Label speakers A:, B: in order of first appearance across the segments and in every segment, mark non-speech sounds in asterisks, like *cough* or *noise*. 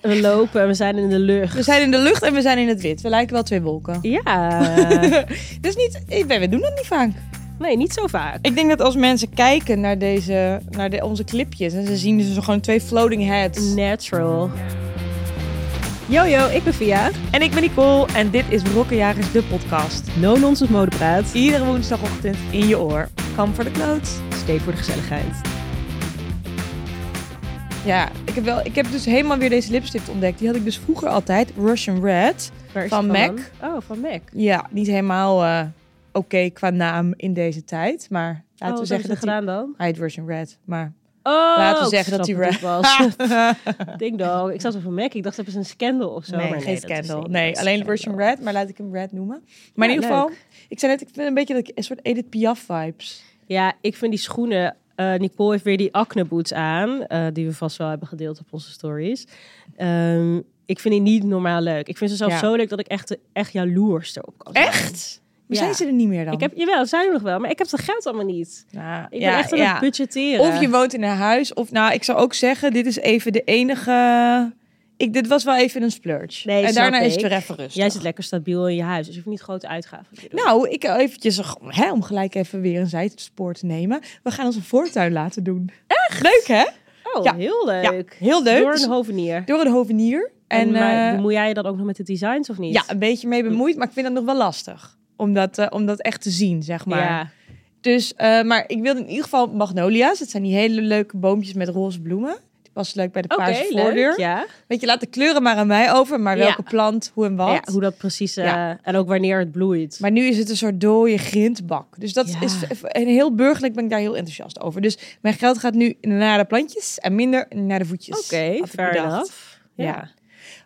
A: We lopen en we zijn in de lucht.
B: We zijn in de lucht en we zijn in het wit. We lijken wel twee wolken. *laughs*
A: Ja.
B: Dus niet, ik ben- we doen dat niet vaak.
A: nee, niet zo vaak.
B: Ik denk dat als mensen kijken naar, deze, naar de, onze clipjes en ze zien dus gewoon twee floating heads.
A: Natural. Yo, yo, ik ben Via.
B: En ik ben Nicole en dit is Brokkenjagers, de podcast.
A: No Nonsense Modepraat.
B: Iedere woensdagochtend in je oor. Kam voor de kloot.
A: Steek voor de gezelligheid.
B: Ja, ik heb, wel, ik heb dus helemaal weer deze lipstift ontdekt. Die had ik dus vroeger altijd, Russian Red.
A: Waar is
B: Van
A: die
B: Mac.
A: dan? Oh, van Mac.
B: Ja, niet helemaal eh, oké qua naam in deze tijd, maar
A: oh,
B: laten
A: wat
B: we
A: hebben
B: zeggen
A: ze
B: dat die...
A: gedaan dan?
B: Hij heet Russian Red, maar...
A: Oh,
B: Laten we
A: ik
B: zeggen dat
A: snap
B: die
A: het was.
B: *laughs*
A: Ding dong. Ik zat zo van Mac. Ik dacht, hebben ze een scandal of zo?
B: nee,
A: maar
B: geen
A: dat is
B: scandal.
A: niet
B: Nee,
A: een
B: alleen
A: scandal.
B: Russian Red, maar laat ik hem Red noemen. Maar
A: Ja,
B: in ieder geval,
A: leuk.
B: ik zei net, ik vind een beetje dat ik een soort Edith Piaf vibes.
A: Ja, ik vind die schoenen. eh, Nicole heeft weer die acne boots aan, eh, die we vast wel hebben gedeeld op onze stories. Ehm, ik vind die niet normaal leuk. Ik vind ze zelfs
B: Ja.
A: zo leuk dat ik echt, echt jaloers erop kan zijn.
B: Echt? Maar
A: Ja.
B: zijn ze er niet meer dan?
A: Ik heb, jawel, dat zijn er nog wel, maar ik heb dat geld allemaal niet.
B: Nou,
A: Ik
B: ja,
A: ben echt aan
B: ja.
A: het budgetteren.
B: Of je woont in een huis, of nou, ik zou ook zeggen, dit is even de enige... Ik, dit was wel even een splurge.
A: Nee,
B: en
A: snap
B: daarna is
A: ik.
B: het weer even rustig.
A: Jij zit lekker stabiel in je huis, dus je hoeft niet grote uitgaven te doen.
B: Nou, ik eh, eventjes, eh, hè, om gelijk even weer een zijspoor te nemen. We gaan onze voortuin laten doen. Echt? Leuk, hè?
A: oh,
B: ja.
A: heel leuk.
B: Heel leuk.
A: Door
B: Dus
A: een hovenier.
B: door een hovenier.
A: En,
B: En,
A: maar
B: eh,
A: bemoei jij je dan ook nog met de designs of niet?
B: ja, een beetje mee bemoeid, maar ik vind dat nog wel lastig. Om dat, eh, om dat echt te zien, zeg maar.
A: Ja.
B: Dus, eh, maar ik wilde in ieder geval magnolia's. Dat zijn die hele leuke boompjes met roze bloemen. Die passen leuk bij de
A: Oké,
B: paarse
A: leuk.
B: voordeur.
A: Ja.
B: Weet je, laat de kleuren maar aan mij over. Maar
A: Ja.
B: welke plant, hoe en wat.
A: Ja, hoe dat precies... eh,
B: Ja.
A: En ook wanneer het bloeit.
B: Maar nu is het een soort dode grindbak. Dus dat
A: Ja.
B: is en heel burgerlijk ben ik daar heel enthousiast over. Dus mijn geld gaat nu naar de plantjes en minder naar de voetjes.
A: Oké,
B: had ik
A: fair
B: bedacht.
A: enough. Ja.
B: Ja.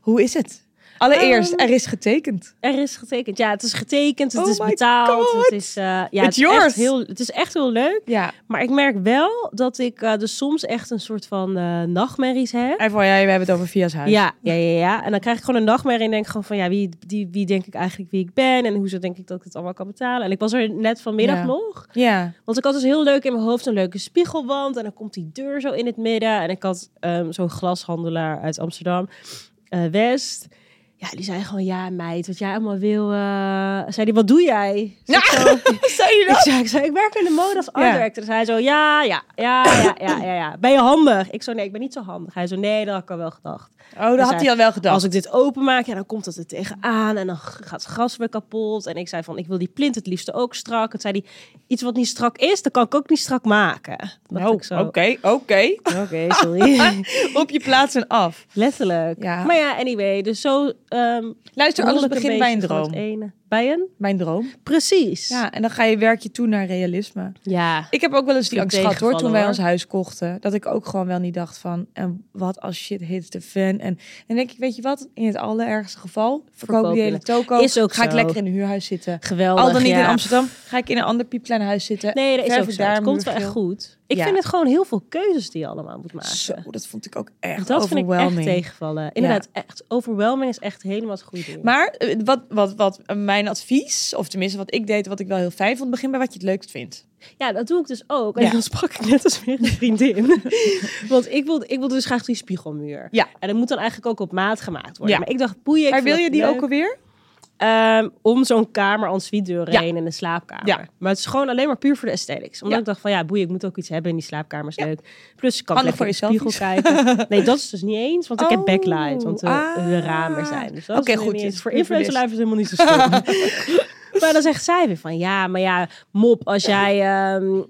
B: Hoe is het? Allereerst,
A: Ehm,
B: er is getekend.
A: Er is getekend. Ja, het is getekend, het
B: Oh
A: is
B: my
A: betaald.
B: God.
A: Het is, eh, ja,
B: It's
A: het, is
B: yours.
A: echt heel, het is echt heel leuk.
B: Ja.
A: Maar ik merk wel dat ik eh, dus soms echt een soort van eh, nachtmerries heb.
B: En van jij, we hebben het over Via's huis.
A: Ja, ja, ja, ja. En dan krijg ik gewoon een nachtmerrie en denk ik gewoon van ja, wie, die, wie denk ik eigenlijk wie ik ben en hoezo denk ik dat ik het allemaal kan betalen. En ik was er net vanmiddag
B: Ja.
A: nog,
B: Ja.
A: want ik had dus heel leuk in mijn hoofd een leuke spiegelwand en dan komt die deur zo in het midden. En ik had ehm, zo'n glashandelaar uit Amsterdam, eh, West. Ja, die zei gewoon ja meid, wat jij allemaal wil. eh," zei die, wat doe
B: *laughs*
A: jij? Dus ik *laughs* zo-
B: Zei je
A: ik zei, ik, zei, ik werk in de mode als art
B: Ja.
A: director. Dus hij zo, ja, ja, ja, ja, ja, ja, ja. Ben je handig? Ik zo, nee, ik ben niet zo handig. Hij zo, nee, dat had ik al wel gedacht.
B: Oh, dat had hij al wel gedacht.
A: Als ik dit openmaak, ja, dan komt het er tegenaan. En dan g- gaat het gras weer kapot. En ik zei van, ik wil die plint het liefst ook strak. Het zei die iets wat niet strak is, dat kan ik ook niet strak maken. Toen dacht
B: Nou,
A: ik zo,
B: oké, oké.
A: oké, *laughs* sorry.
B: Op je plaats en af.
A: Letterlijk.
B: Ja.
A: Maar ja, anyway, dus zo... ehm
B: Luister,
A: rol
B: alles
A: ik een
B: begint bij een
A: beetje van het
B: droom.
A: ene. Bij een?
B: Mijn droom.
A: Precies.
B: Ja, en dan ga je werk je toe naar realisme.
A: ja.
B: Ik heb ook wel eens die
A: Een
B: angst gehad hoor, toen
A: tegenvaller,
B: wij
A: hoor.
B: ons huis kochten. Dat ik ook gewoon wel niet dacht van, en wat als shit hits the fan. En dan denk ik, weet je wat, in het allerergste geval, verkoop,
A: Verkoop
B: die
A: je
B: hele
A: het.
B: toko.
A: Is ook
B: ga ik
A: zo.
B: lekker in een huurhuis zitten.
A: Geweldig,
B: Al dan niet
A: ja.
B: in Amsterdam, ga ik in een ander piepklein huis zitten.
A: Nee, dat is
B: Verf
A: ook
B: ik
A: zo. Het komt
B: muurgeel.
A: wel echt goed. Ik
B: Ja.
A: vind het gewoon heel veel keuzes die je allemaal moet maken.
B: Zo, dat vond ik ook echt
A: dat vind ik echt
B: overwhelming.
A: tegenvallen. Inderdaad, echt overwhelming is echt helemaal het goede ding.
B: Maar eh, wat, wat, wat eh, mijn advies, of tenminste wat ik deed, wat ik wel heel fijn vond, begin bij wat je het leukst vindt.
A: ja, dat doe ik dus ook. En
B: Ja.
A: dan sprak ik net als weer een
B: *laughs*
A: vriendin. Want ik wilde, ik wilde dus graag die spiegelmuur.
B: Ja.
A: En dat moet dan eigenlijk ook op maat gemaakt worden.
B: Ja.
A: Maar ik dacht, boeien, ik
B: maar
A: vind
B: wil je
A: dat
B: die
A: leuk.
B: ook alweer?
A: Ehm, om zo'n kamer en suite deur
B: Ja.
A: heen en de slaapkamer.
B: Ja.
A: Maar het is gewoon alleen maar puur voor de aesthetics. Omdat
B: Ja.
A: ik dacht van ja, boei, ik moet ook iets hebben in die slaapkamer is
B: Ja.
A: leuk. Plus ik kan
B: Handig
A: lekker in de
B: voor
A: spiegel
B: *laughs*
A: kijken. Nee, dat is dus niet eens, want ik heb
B: Oh,
A: backlight, want de, de
B: ah.
A: ramen zijn. Dus dat
B: Oké,
A: is nu
B: goed,
A: niet
B: dit
A: eens-
B: is
A: Voor
B: puur voor
A: influencer
B: dit.
A: life is helemaal niet zo stom.
B: *laughs*
A: maar dan zegt zij weer van ja, maar ja, mop, als jij ehm,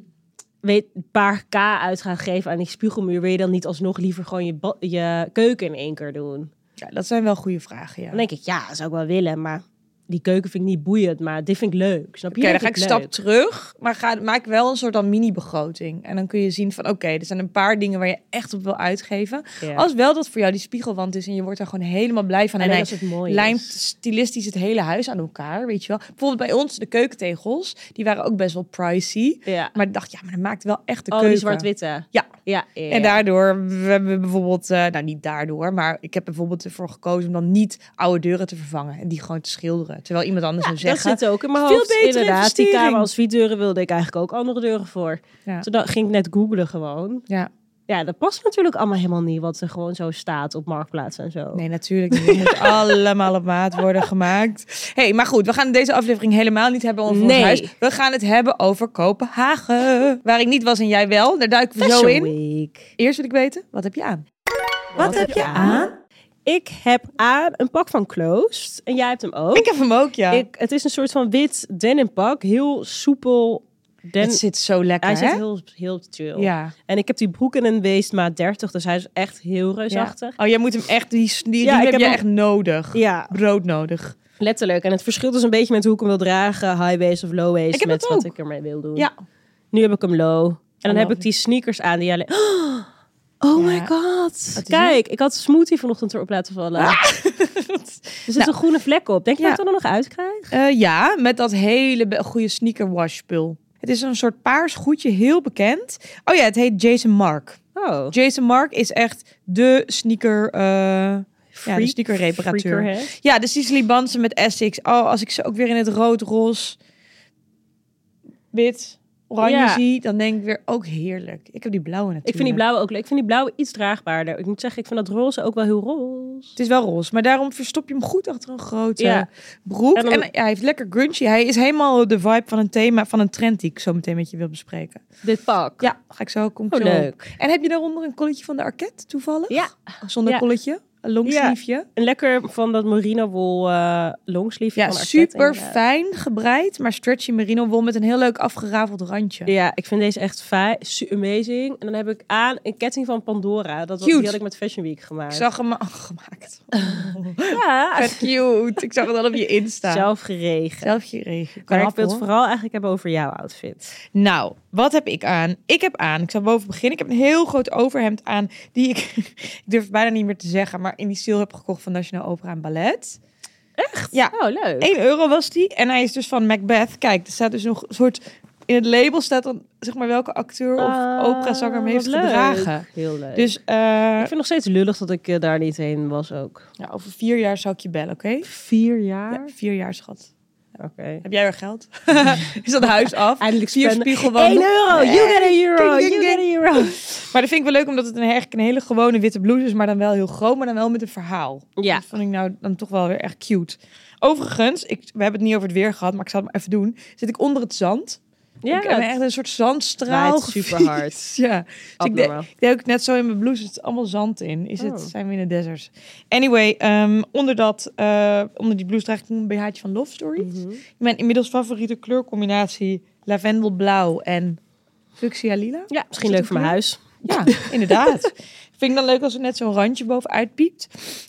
A: weet een paar k uit gaat geven aan die spiegelmuur, wil je dan niet alsnog liever gewoon je, ba- je keuken in één keer doen?
B: Ja, dat zijn wel goede vragen, ja.
A: Dan denk ik, ja, dat zou ik wel willen, maar die keuken vind ik niet boeiend, maar dit vind ik leuk. Snap je?
B: Oké,
A: Dat
B: dan ga ik een
A: vind
B: stap
A: leuk.
B: terug, maar ga, maak wel een soort dan mini-begroting. En dan kun je zien van, oké, er zijn een paar dingen waar je echt op wil uitgeven.
A: Ja.
B: Als wel dat voor jou die spiegelwand is en je wordt daar gewoon helemaal blij van. En,
A: Alleen
B: hij
A: als het mooi is.
B: lijmt stilistisch het hele huis aan elkaar, weet je wel. Bijvoorbeeld bij ons, de keukentegels, die waren ook best wel pricey.
A: Ja.
B: Maar ik dacht, ja, maar dat maakt wel echt de
A: Oh, die
B: keuken.
A: zwart-witte.
B: Ja.
A: Ja, ja, ja.
B: En daardoor, we hebben bijvoorbeeld, eh, nou niet daardoor, maar ik heb bijvoorbeeld ervoor gekozen om dan niet oude deuren te vervangen en die gewoon te schilderen. Terwijl iemand anders
A: Ja,
B: zou zeggen,
A: dat zit ook in mijn
B: veel
A: hoofd.
B: betere
A: Inderdaad, die
B: investering.
A: kamer als vierdeuren wilde ik eigenlijk ook andere deuren voor.
B: Ja.
A: Toen da- ging ik net googelen gewoon.
B: Ja.
A: Ja, dat past natuurlijk allemaal helemaal niet wat er gewoon zo staat op marktplaats en zo.
B: Nee, natuurlijk niet. *laughs* Het moet allemaal op maat worden gemaakt. hey, maar goed, we gaan deze aflevering helemaal niet hebben over
A: Nee.
B: ons huis. We gaan het hebben over Kopenhagen. Waar ik niet was en jij wel. Daar duiken we zo
A: Fashion
B: in.
A: Week.
B: Eerst wil ik weten, wat heb je aan?
A: Wat heb je aan? Ik heb aan een pak van Closed en jij hebt hem ook.
B: Ik heb hem ook, ja.
A: Ik- het is een soort van wit denim pak, heel soepel. Den,
B: het zit zo lekker,
A: hij zit
B: hè?
A: heel, heel chill.
B: Ja.
A: En ik heb die broek in een weesmaat 30, dus hij is echt heel reusachtig.
B: Oh, jij moet hem echt, die, die, die
A: Ja, ik
B: heb,
A: heb
B: je
A: hem-
B: echt nodig.
A: Ja,
B: Brood nodig. Letterlijk.
A: En het verschilt dus een beetje met hoe ik hem wil dragen. High waist of low waist.
B: Ik heb
A: met
B: dat
A: wat
B: ook.
A: ik ermee wil doen.
B: Ja.
A: Nu heb ik hem low. En dan heb
B: Ongelooflijk.
A: ik die sneakers aan die alleen... *gasps* Oh my
B: Ja.
A: god.
B: is
A: Kijk, ik had smoothie vanochtend erop laten vallen. Ah. *laughs* Er zit
B: Nou.
A: een groene vlek op. Denk je
B: Ja.
A: dat ik dat er nog uitkrijg?
B: Eh, ja, met dat hele be- goede sneakerwash spul. Het is een soort paars goedje, heel bekend. Oh ja, het heet Jason Mark.
A: Oh.
B: Jason Mark is echt de sneaker... eh, ja, de sneakerreparateur.
A: Freakerhead.
B: Ja, de Cicely Bansen met Essex. Oh, als ik ze ook weer in het rood, roze, wit, oranje
A: Ja.
B: zie, dan denk ik weer ook heerlijk. Ik heb die blauwe natuurlijk.
A: Ik vind die blauwe ook leuk. Ik vind die blauwe iets draagbaarder. Ik moet zeggen, ik vind dat roze ook wel heel roze.
B: Het is wel roze, maar daarom verstop je hem goed achter een grote
A: Ja.
B: broek.
A: En
B: En, eh,
A: dan-
B: ja, hij heeft lekker grungy. Hij is helemaal de vibe van een thema, van een trend die ik zo meteen met je wil bespreken.
A: Dit pak.
B: Ja, ga ik zo kom ik
A: Oh,
B: zo op.
A: leuk.
B: En heb je daaronder een colletje van de Arket toevallig?
A: Ja.
B: Zonder
A: Ja.
B: colletje, een longsleeveje.
A: En lekker van dat merino wol eh longsleeve.
B: Ja,
A: van Arket,
B: super
A: inderdaad.
B: fijn gebreid, maar stretchy merino wol met een heel leuk afgerafeld randje.
A: Ja, ik vind deze echt fijn, su- amazing. En dan heb ik aan een ketting van Pandora. Dat was, die
B: Cute.
A: had ik met Fashion Week gemaakt.
B: Ik zag hem oh, *laughs* gemaakt.
A: ja,
B: Vet cute. Ik zag het al op je Insta.
A: zelf geregen.
B: Zelf je regen.
A: Maar
B: Knap,
A: ik wil het
B: hoor.
A: vooral eigenlijk hebben over jouw outfit.
B: Nou, wat heb ik aan? Ik heb aan, ik zal boven beginnen. Ik heb een heel groot overhemd aan. Die ik, *laughs* ik durf het bijna niet meer te zeggen, maar in die stil heb gekocht van National Opera en Ballet.
A: Echt?
B: Ja.
A: Oh, leuk.
B: 1 euro was die. En hij is dus van Macbeth. Kijk, er staat dus nog een soort. In het label staat dan zeg maar welke acteur of
A: Ah,
B: operazanger hem heeft
A: wat leuk.
B: gedragen.
A: Heel leuk. Dus, ik
B: Dus eh,
A: vind het nog steeds lullig dat ik eh, daar niet heen was ook.
B: ja, over vier jaar zou ik je bellen, oké?
A: Vier jaar?
B: Ja, vier jaar, schat.
A: Oké.
B: Heb jij weer geld? *laughs* is dat huis
A: *laughs*
B: af?
A: Eindelijk
B: Vier
A: spenden. 1
B: spiegelwanden.
A: euro, you get a euro,
B: Ding, ding,
A: you get a
B: *laughs*
A: euro.
B: Maar dat vind ik wel leuk, omdat het een, eigenlijk een hele gewone witte blouse is, maar dan wel heel groot, maar dan wel met een verhaal.
A: Ja.
B: Dat vond ik nou dan toch wel weer echt cute. Overigens, ik, we hebben het niet over het weer gehad, maar ik zal het maar even doen. Zit ik onder het zand.
A: Ja,
B: ik heb echt een soort zandstraal.
A: Waait superhard.
B: gefietst. *laughs* Ja. Dus ik, de,
A: abnormaal.
B: ik deed ook net zo in mijn blouse, er zit allemaal zand in. Is het,
A: Oh.
B: zijn we in de deserts. Anyway, ehm, onder, dat, eh, onder die blouse draag ik een BH'tje van Love Story.
A: Mhm.
B: Mijn inmiddels favoriete kleurcombinatie lavendelblauw en fuchsia lila.
A: Ja, misschien
B: Is
A: leuk
B: het
A: voor mijn
B: een
A: huis.
B: Ja,
A: *laughs*
B: inderdaad. Vind ik dan leuk als er net zo'n randje bovenuit piept.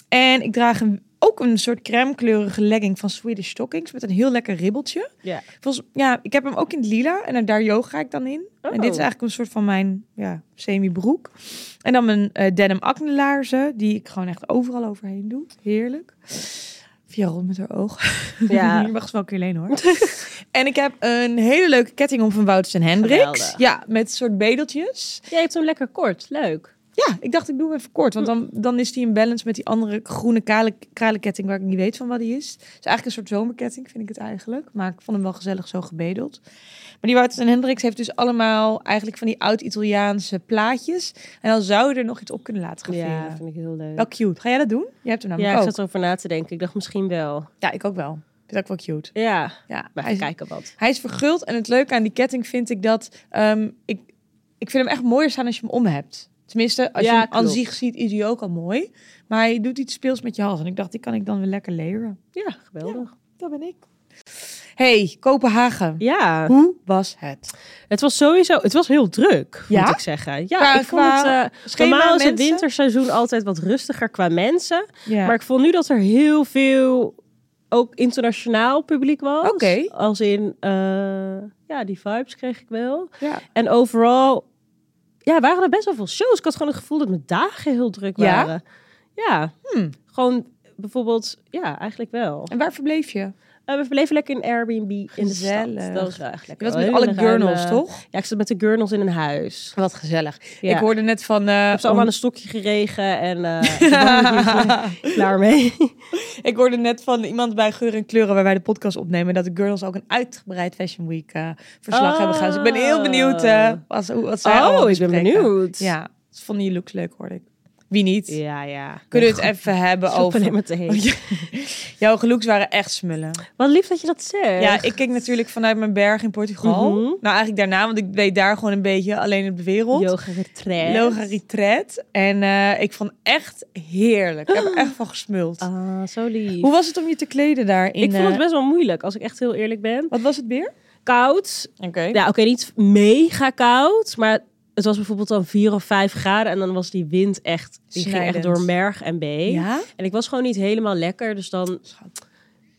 B: En ik draag een, ook een soort crème kleurige legging van Swedish Stockings met een heel lekker ribbeltje.
A: Ja.
B: Volgens, ja, ik heb hem ook in het lila en daar yoga ik dan in.
A: Oh.
B: En dit is eigenlijk een soort van mijn ja, semi-broek. En dan mijn eh, denim acne laarzen, die ik gewoon echt overal overheen doe. Heerlijk. Via rond met haar oog. *laughs*
A: Ja.
B: Je mag ze wel een keer lenen hoor. *laughs* en ik heb een hele leuke ketting om van Wouters en Hendricks.
A: Geweldig.
B: Ja, met soort bedeltjes.
A: Jij hebt hem lekker kort, leuk.
B: Ja, ik dacht ik doe hem even kort. Want dan, dan is die in balance met die andere groene kale, kale ketting waar ik niet weet van wat die is. Dus eigenlijk een soort zomerketting vind ik het eigenlijk. Maar ik vond hem wel gezellig zo gebedeld. Maar die Wouters en Hendricks heeft dus allemaal eigenlijk van die oud-Italiaanse plaatjes. En dan zou je er nog iets op kunnen laten graveren.
A: Ja, vind ik heel leuk.
B: Wel cute. Ga jij dat doen? Jij hebt hem
A: Ja,
B: namelijk
A: ik
B: ook.
A: zat erover na te denken. Ik dacht misschien wel.
B: Ja, ik ook wel. Ik vind dat ook wel cute.
A: Ja,
B: Ja,
A: maar
B: hij
A: even
B: is,
A: kijken wat.
B: hij is verguld. En het leuke aan die ketting vind ik dat... ehm, ik, ik vind hem echt mooier staan als je hem om hebt. Tenminste, als
A: Ja,
B: je hem aan
A: klopt.
B: zich ziet, is hij ook al mooi. Maar hij doet iets speels met je hals. En ik dacht, die kan ik dan weer lekker leren.
A: Ja, geweldig.
B: Dat ben ik. hey, Kopenhagen.
A: Ja.
B: Hoe was het?
A: het was sowieso, het was heel druk,
B: Ja?
A: moet ik zeggen. Ja,
B: Qua-
A: ik vond
B: qua
A: het, eh,
B: schema,
A: normaal is het
B: mensen?
A: winterseizoen altijd wat rustiger qua mensen.
B: Ja.
A: Maar ik vond nu dat er heel veel, ook internationaal publiek was.
B: Oké.
A: Als in, eh, ja, die vibes kreeg ik wel.
B: ja.
A: En overal ja, waren er best wel veel shows. Ik had gewoon het gevoel dat mijn dagen heel druk
B: Ja?
A: waren. Ja,
B: Hmm.
A: gewoon bijvoorbeeld, ja, eigenlijk wel.
B: En waar verbleef je?
A: Eh, we verbleven lekker in Airbnb in de
B: Gezellig.
A: stad. Dat was wel echt
B: Je
A: lekker.
B: was
A: Wel
B: met
A: hele
B: alle
A: ruime-
B: journals, toch?
A: Ja, ik zat met de journals in een huis.
B: Wat gezellig.
A: Ja.
B: Ik hoorde net van... eh,
A: Ik heb ze *laughs*
B: om-
A: allemaal aan een stokje geregen en
B: *laughs*
A: eh, ik ben er niet klaar mee.
B: Oh, Ik hoorde net van iemand bij Geur en Kleuren, waar wij de podcast opnemen, dat de girls ook een uitgebreid Fashion Week eh, verslag
A: Oh.
B: hebben gedaan. Dus ik ben heel benieuwd eh, wat, ze- hoe- wat zij allemaal
A: Oh, ik ben
B: bespreken.
A: benieuwd.
B: Ja, Dat vonden je looks leuk, hoorde ik. Wie niet?
A: Ja, ja.
B: Kunnen we het even hebben
A: over? Oh,
B: over...
A: meteen.
B: Jouw looks waren echt smullen.
A: Wat lief dat je dat zegt.
B: Ja, ik keek natuurlijk vanuit mijn berg in Portugal.
A: Mhm.
B: Nou, eigenlijk daarna, want ik deed daar gewoon een beetje alleen op de wereld.
A: Yoga retreat.
B: Yoga retreat. En eh, ik vond echt heerlijk. Ik heb
A: *gasps*
B: er echt van gesmuld.
A: Ah, zo lief.
B: Hoe was het om je te kleden daar? In,
A: ik vond het
B: eh,
A: best wel moeilijk, als ik echt heel eerlijk ben.
B: Wat was het weer?
A: Koud.
B: Oké.
A: Ja, oké, niet mega koud, maar het was bijvoorbeeld dan 4 of 5 graden en dan was die wind echt, die ging echt
B: Snijdend.
A: door merg en been.
B: Ja?
A: En ik was gewoon niet helemaal lekker, dus dan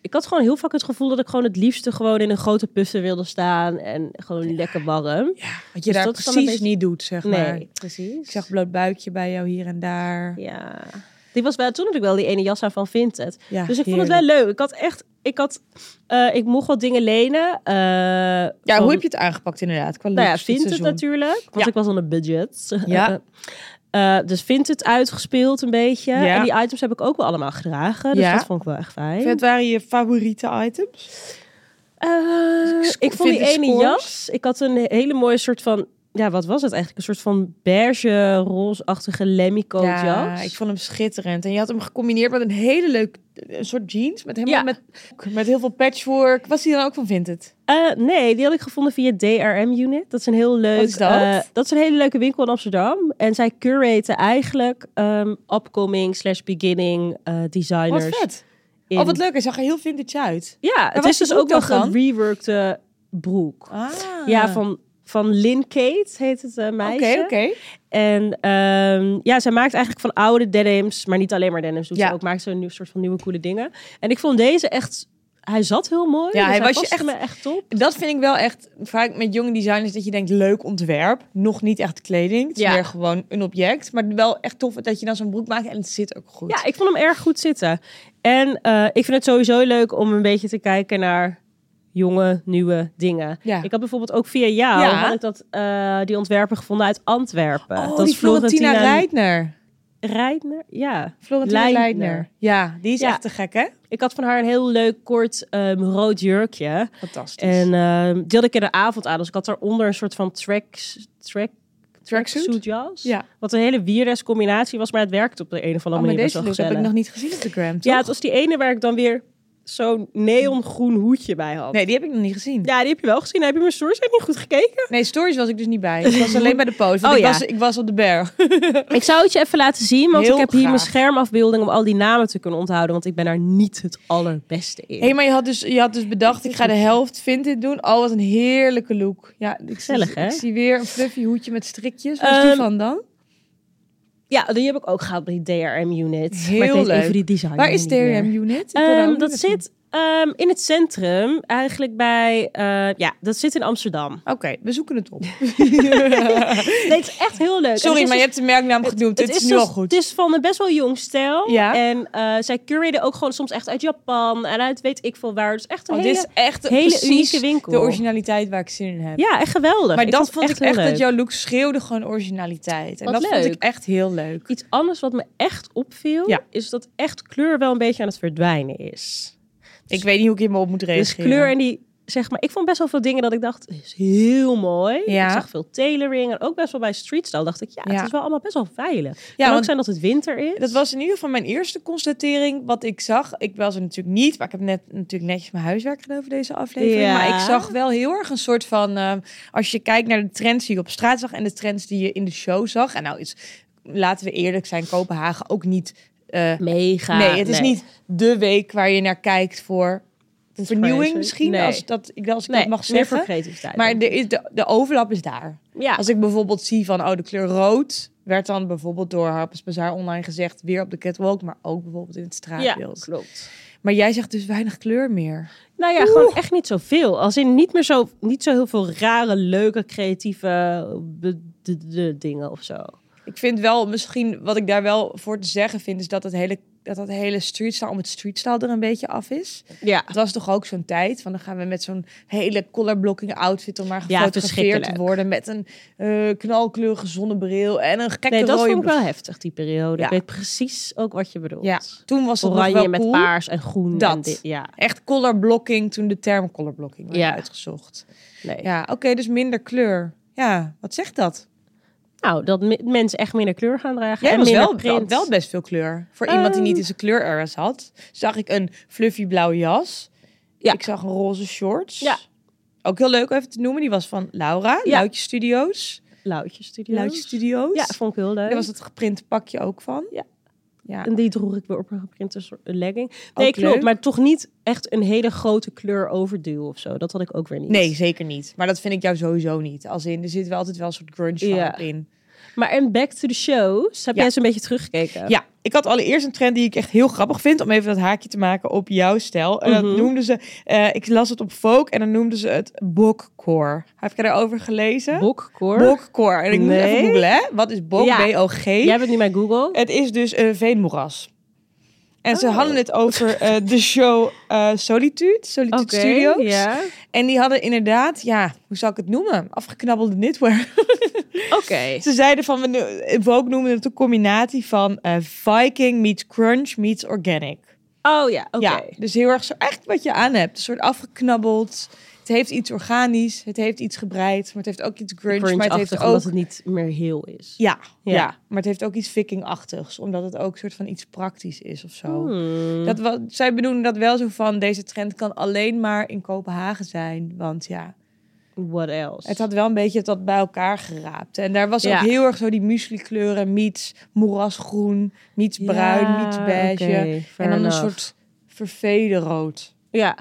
A: ik had gewoon heel vaak het gevoel dat ik gewoon het liefste gewoon in een grote puffer wilde staan en gewoon lekker warm.
B: Ja, wat je
A: Dus
B: daar
A: dat is dan
B: precies
A: een beetje-
B: niet doet, zeg maar.
A: Nee, precies.
B: Ik zag bloot buikje bij jou hier en daar.
A: Ja. Die was bij toen natuurlijk wel die ene jas aan van Vinted.
B: Ja,
A: dus ik vond het wel leuk. Ik had echt, ik had, eh, ik mocht wat dingen lenen. eh,
B: Ja,
A: van-
B: hoe heb je het aangepakt inderdaad? Qua
A: Nou ja,
B: looks dit
A: Vinted
B: seizoen?
A: natuurlijk. Want
B: Ja.
A: ik was on een budget. *laughs*
B: Ja.
A: Eh, dus Vinted uitgespeeld een beetje.
B: Ja.
A: En die items heb ik ook wel allemaal gedragen. Dus
B: Ja.
A: dat vond ik wel echt fijn.
B: Wat waren je favoriete items?
A: Eh,
B: sco-
A: ik vond die
B: Vinted
A: ene
B: scores.
A: jas. Ik had een hele mooie soort van... Ja, wat was het eigenlijk? Een soort van beige, roze-achtige lemmycoat jas.
B: ik vond hem schitterend. En je had hem gecombineerd met een hele leuk een soort jeans. Met,
A: Ja.
B: helemaal met, met heel veel patchwork. Was die dan ook van Vinted?
A: Eh, nee, die had ik gevonden via DRM Unit. Dat is een heel leuk.
B: Wat is dat?
A: eh, dat is een hele leuke winkel in Amsterdam. En zij curaten eigenlijk ehm, upcoming slash beginning eh,
B: Wat
A: designers.
B: vet.
A: in-
B: Oh, wat leuk. Hij zag er heel vintage uit.
A: Ja, het
B: was
A: is
B: die
A: dus ook wel
B: broek dan
A: een
B: van?
A: reworkte broek.
B: Ah.
A: Ja, van, van Lynn Kate heet het eh,
B: Oké,
A: meisje.
B: oké.
A: En ehm, ja, zij maakt eigenlijk van oude denims, maar niet alleen maar denims. Doet
B: Ja.
A: ze ook maakt ze een nieuw soort van nieuwe coole dingen. En ik vond deze echt. Hij zat heel mooi.
B: Ja,
A: dus
B: hij was je
A: paste
B: echt-
A: me echt op.
B: Dat vind ik wel echt vaak met jonge designers dat je denkt leuk ontwerp, nog niet echt kleding, het is
A: Ja.
B: meer gewoon een object, maar wel echt tof dat je dan zo'n broek maakt en het zit ook goed.
A: Ja, ik vond hem erg goed zitten. En eh, ik vind het sowieso leuk om een beetje te kijken naar jonge, nieuwe dingen.
B: Ja.
A: Ik had bijvoorbeeld ook via jou
B: Ja.
A: had ik dat, eh, die ontwerper gevonden uit Antwerpen.
B: oh,
A: dat is
B: die Florentina Reitner.
A: Reitner. Ja.
B: Florentina Leitner.
A: Leitner.
B: Ja, die is
A: Ja.
B: echt te gek hè?
A: Ik had van haar een heel leuk kort ehm, rood jurkje.
B: Fantastisch.
A: En ehm die had ik in de avond aan. Dus ik had daaronder een soort van tracks, track,
B: tracksuit?
A: jas.
B: Ja.
A: Wat een hele weirdes combinatie was, maar het werkte op de een of andere
B: Oh, maar
A: manier best wel
B: deze look heb
A: gezellig.
B: ik nog niet gezien op de gram.
A: Ja,
B: toch?
A: het was die ene waar ik dan weer zo'n neongroen hoedje bij had.
B: Nee, die heb ik nog niet gezien.
A: Ja, die heb je wel gezien. Heb je mijn stories niet goed gekeken?
B: Nee, stories was ik dus niet
A: *laughs*
B: bij. Ik was alleen bij de post. Want
A: Oh,
B: ik,
A: ja.
B: was, ik was op de berg.
A: Ik zou het je even laten zien, want
B: Heel
A: ik heb hier mijn
B: graag.
A: schermafbeelding om al die namen te kunnen onthouden. Want ik ben daar niet het allerbeste in.
B: Hé, maar je had, dus, je had dus bedacht, ik ga de helft Vinted doen. Oh, wat een heerlijke look. Ja, ik
A: Gezellig,
B: zie,
A: hè?
B: Ik zie weer een fluffy hoedje met strikjes. Waar is die
A: Ehm,
B: van dan?
A: Ja, die heb ik ook gehad bij die DRM-unit.
B: Heel
A: maar ik weet
B: leuk.
A: Even die design
B: Waar is
A: niet meer.
B: DRM Unit? Ik wil daar
A: Ehm,
B: ook
A: dat
B: niet naartoe.
A: zit ehm, in het centrum, eigenlijk bij... eh, ja, dat zit in Amsterdam.
B: Oké, we zoeken het op. *laughs*
A: Nee, het is echt heel leuk. En het
B: Sorry,
A: is
B: maar je hebt de merknaam genoemd. Dit is, nu
A: dus-
B: al goed.
A: Het is van een best wel jong stijl.
B: Ja.
A: En eh, zij curaten ook gewoon soms echt uit Japan en uit weet ik veel waar. Dus echt een
B: Oh,
A: hele,
B: dit is echt een-
A: hele
B: precies
A: unieke winkel.
B: de originaliteit waar ik zin in heb.
A: Ja, echt geweldig.
B: Maar dat
A: het
B: vond ik
A: heel
B: echt dat
A: leuk.
B: jouw look schreeuwde gewoon originaliteit. En
A: Wat
B: dat vond
A: leuk.
B: ik echt heel leuk.
A: Iets anders wat me echt opviel,
B: Ja.
A: is dat echt kleur wel een beetje aan het verdwijnen is.
B: Ik weet niet hoe ik hier me op moet
A: Dus
B: reageren.
A: kleur en die, zeg maar, ik vond best wel veel dingen dat ik dacht, is heel mooi.
B: Ja.
A: Ik zag veel tailoring en ook best wel bij streetstyle dacht ik, ja,
B: Ja.
A: het is wel allemaal best wel veilig.
B: Ja,
A: kan ook
B: want-
A: zijn dat het winter is.
B: Dat was in ieder geval mijn eerste constatering. Wat ik zag, ik was er natuurlijk niet, maar ik heb net natuurlijk netjes mijn huiswerk gedaan voor deze aflevering.
A: Ja.
B: Maar ik zag wel heel erg een soort van, ehm, als je kijkt naar de trends die je op straat zag en de trends die je in de show zag. En nou, is, laten we eerlijk zijn, Kopenhagen ook niet. eh,
A: mega.
B: nee, het is niet de week waar je naar kijkt voor vernieuwing
A: crazy.
B: misschien,
A: Nee.
B: als, dat, ik- als ik
A: Nee,
B: dat mag
A: meer voor
B: zeggen.
A: creativiteit.
B: Maar de, is- de, de overlap is daar.
A: ja.
B: Als ik bijvoorbeeld zie van, oh, de kleur rood werd dan bijvoorbeeld door Harper's Bazaar online gezegd weer op de catwalk, maar ook bijvoorbeeld in het straatbeeld.
A: klopt.
B: Maar jij zegt dus weinig kleur meer.
A: Nou ja, gewoon echt niet zoveel. Als in niet meer zo, niet zo heel veel rare, leuke, creatieve be- de, de dingen of zo.
B: Ik vind wel, misschien wat ik daar wel voor te zeggen vind, is dat het hele, dat dat hele streetstyle om het streetstyle er een beetje af is.
A: Ja.
B: Het was toch ook zo'n tijd van dan gaan we met zo'n hele colorblocking outfit om maar
A: Ja,
B: gefotografeerd te
A: verschrikkelijk.
B: worden met een eh, knalkleurige zonnebril en een gekke
A: Nee, dat
B: rode
A: vond ik
B: broek.
A: wel heftig, die periode.
B: Ja.
A: Ik weet precies ook wat je bedoelt.
B: Ja, toen was het nog
A: Oranje
B: wel
A: met
B: cool.
A: paars en groen. En
B: Dat.
A: dit, ja,
B: Echt colorblocking toen de term colorblocking werd
A: Ja.
B: uitgezocht.
A: nee.
B: Ja, oké, dus minder kleur. Ja, wat zegt dat?
A: Nou, dat me- mensen echt minder kleur gaan dragen.
B: Jij
A: en
B: was
A: minder
B: wel, wel,
A: print.
B: wel best veel kleur. Voor iemand die niet
A: Ehm.
B: eens een kleur had, zag ik een fluffy blauwe jas.
A: Ja.
B: Ik zag een roze shorts.
A: Ja.
B: Ook heel leuk om even te noemen. Die was van Laura,
A: Ja.
B: Luitje Studios.
A: Lauwtje studio.
B: Luitje Studios.
A: Ja, vond ik heel leuk.
B: Daar was het geprinte pakje ook van.
A: Ja.
B: Ja.
A: En die droeg ik weer op een geprinte soort- een legging.
B: Ook
A: Nee, klopt.
B: leuk.
A: Maar toch niet echt een hele grote kleur overduw of zo. Dat had ik ook weer niet.
B: Nee, zeker niet. Maar dat vind ik jou sowieso niet. Als in, er zit wel altijd wel een soort grunge
A: Ja.
B: vibe in.
A: Maar en back to the shows. Heb
B: Ja.
A: jij eens een beetje teruggekeken?
B: Ja, ik had allereerst een trend die ik echt heel grappig vind. Om even dat haakje te maken op jouw stijl. En
A: Mhm.
B: dat noemden ze, eh, ik las het op Vogue en dan noemden ze het bokcore. Heb je daarover gelezen?
A: Bokkoor.
B: Bokcore. En ik moet
A: Nee.
B: even googlen, hè. Wat is bok?
A: Ja.
B: B-O-G.
A: Jij bent nu bij Google.
B: Het is dus een veenmoeras. En ze
A: Oh.
B: hadden het over eh, de show eh, Solitude, Solitude
A: Oké,
B: Studios.
A: Ja.
B: En die hadden inderdaad, ja, hoe zou ik het noemen? Afgeknabbelde knitwear.
A: Oké.
B: Ze zeiden van, we, no- Vogue noemde het een combinatie van eh, Viking meets crunch meets organic.
A: Oh ja, oké.
B: Ja, dus heel erg zo, echt wat je aan hebt. Een soort afgeknabbeld. Het heeft iets organisch, het heeft iets gebreid, maar het heeft ook iets grunge.
A: Grunge-achtig,
B: maar het heeft ook...
A: omdat het niet meer heel is.
B: Ja,
A: Ja.
B: ja. maar het heeft ook iets vikingachtigs, omdat het ook soort van iets praktisch is of zo.
A: Hmm.
B: Dat wat, zij bedoelen dat wel zo van, deze trend kan alleen maar in Kopenhagen zijn, want ja...
A: What else?
B: Het had wel een beetje dat bij elkaar geraapt. En daar was
A: Ja.
B: ook heel erg zo die muesli kleuren. Miets moerasgroen, miets bruin, miets beige. en dan een soort verveden rood.
A: Ja.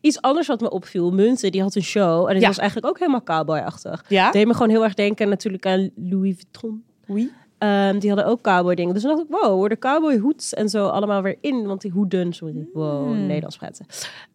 A: Iets anders wat me opviel. Munten, die had een show. En het
B: Ja.
A: was eigenlijk ook helemaal cowboyachtig.
B: Ja?
A: Deed me gewoon heel erg denken natuurlijk aan Louis Vuitton.
B: Oui.
A: Ehm, die hadden ook cowboy dingen. Dus dan dacht ik, wow, worden cowboy hoeds en zo allemaal weer in. Want die hoeden, sorry, wow,
B: Hmm.
A: Nederlands praten.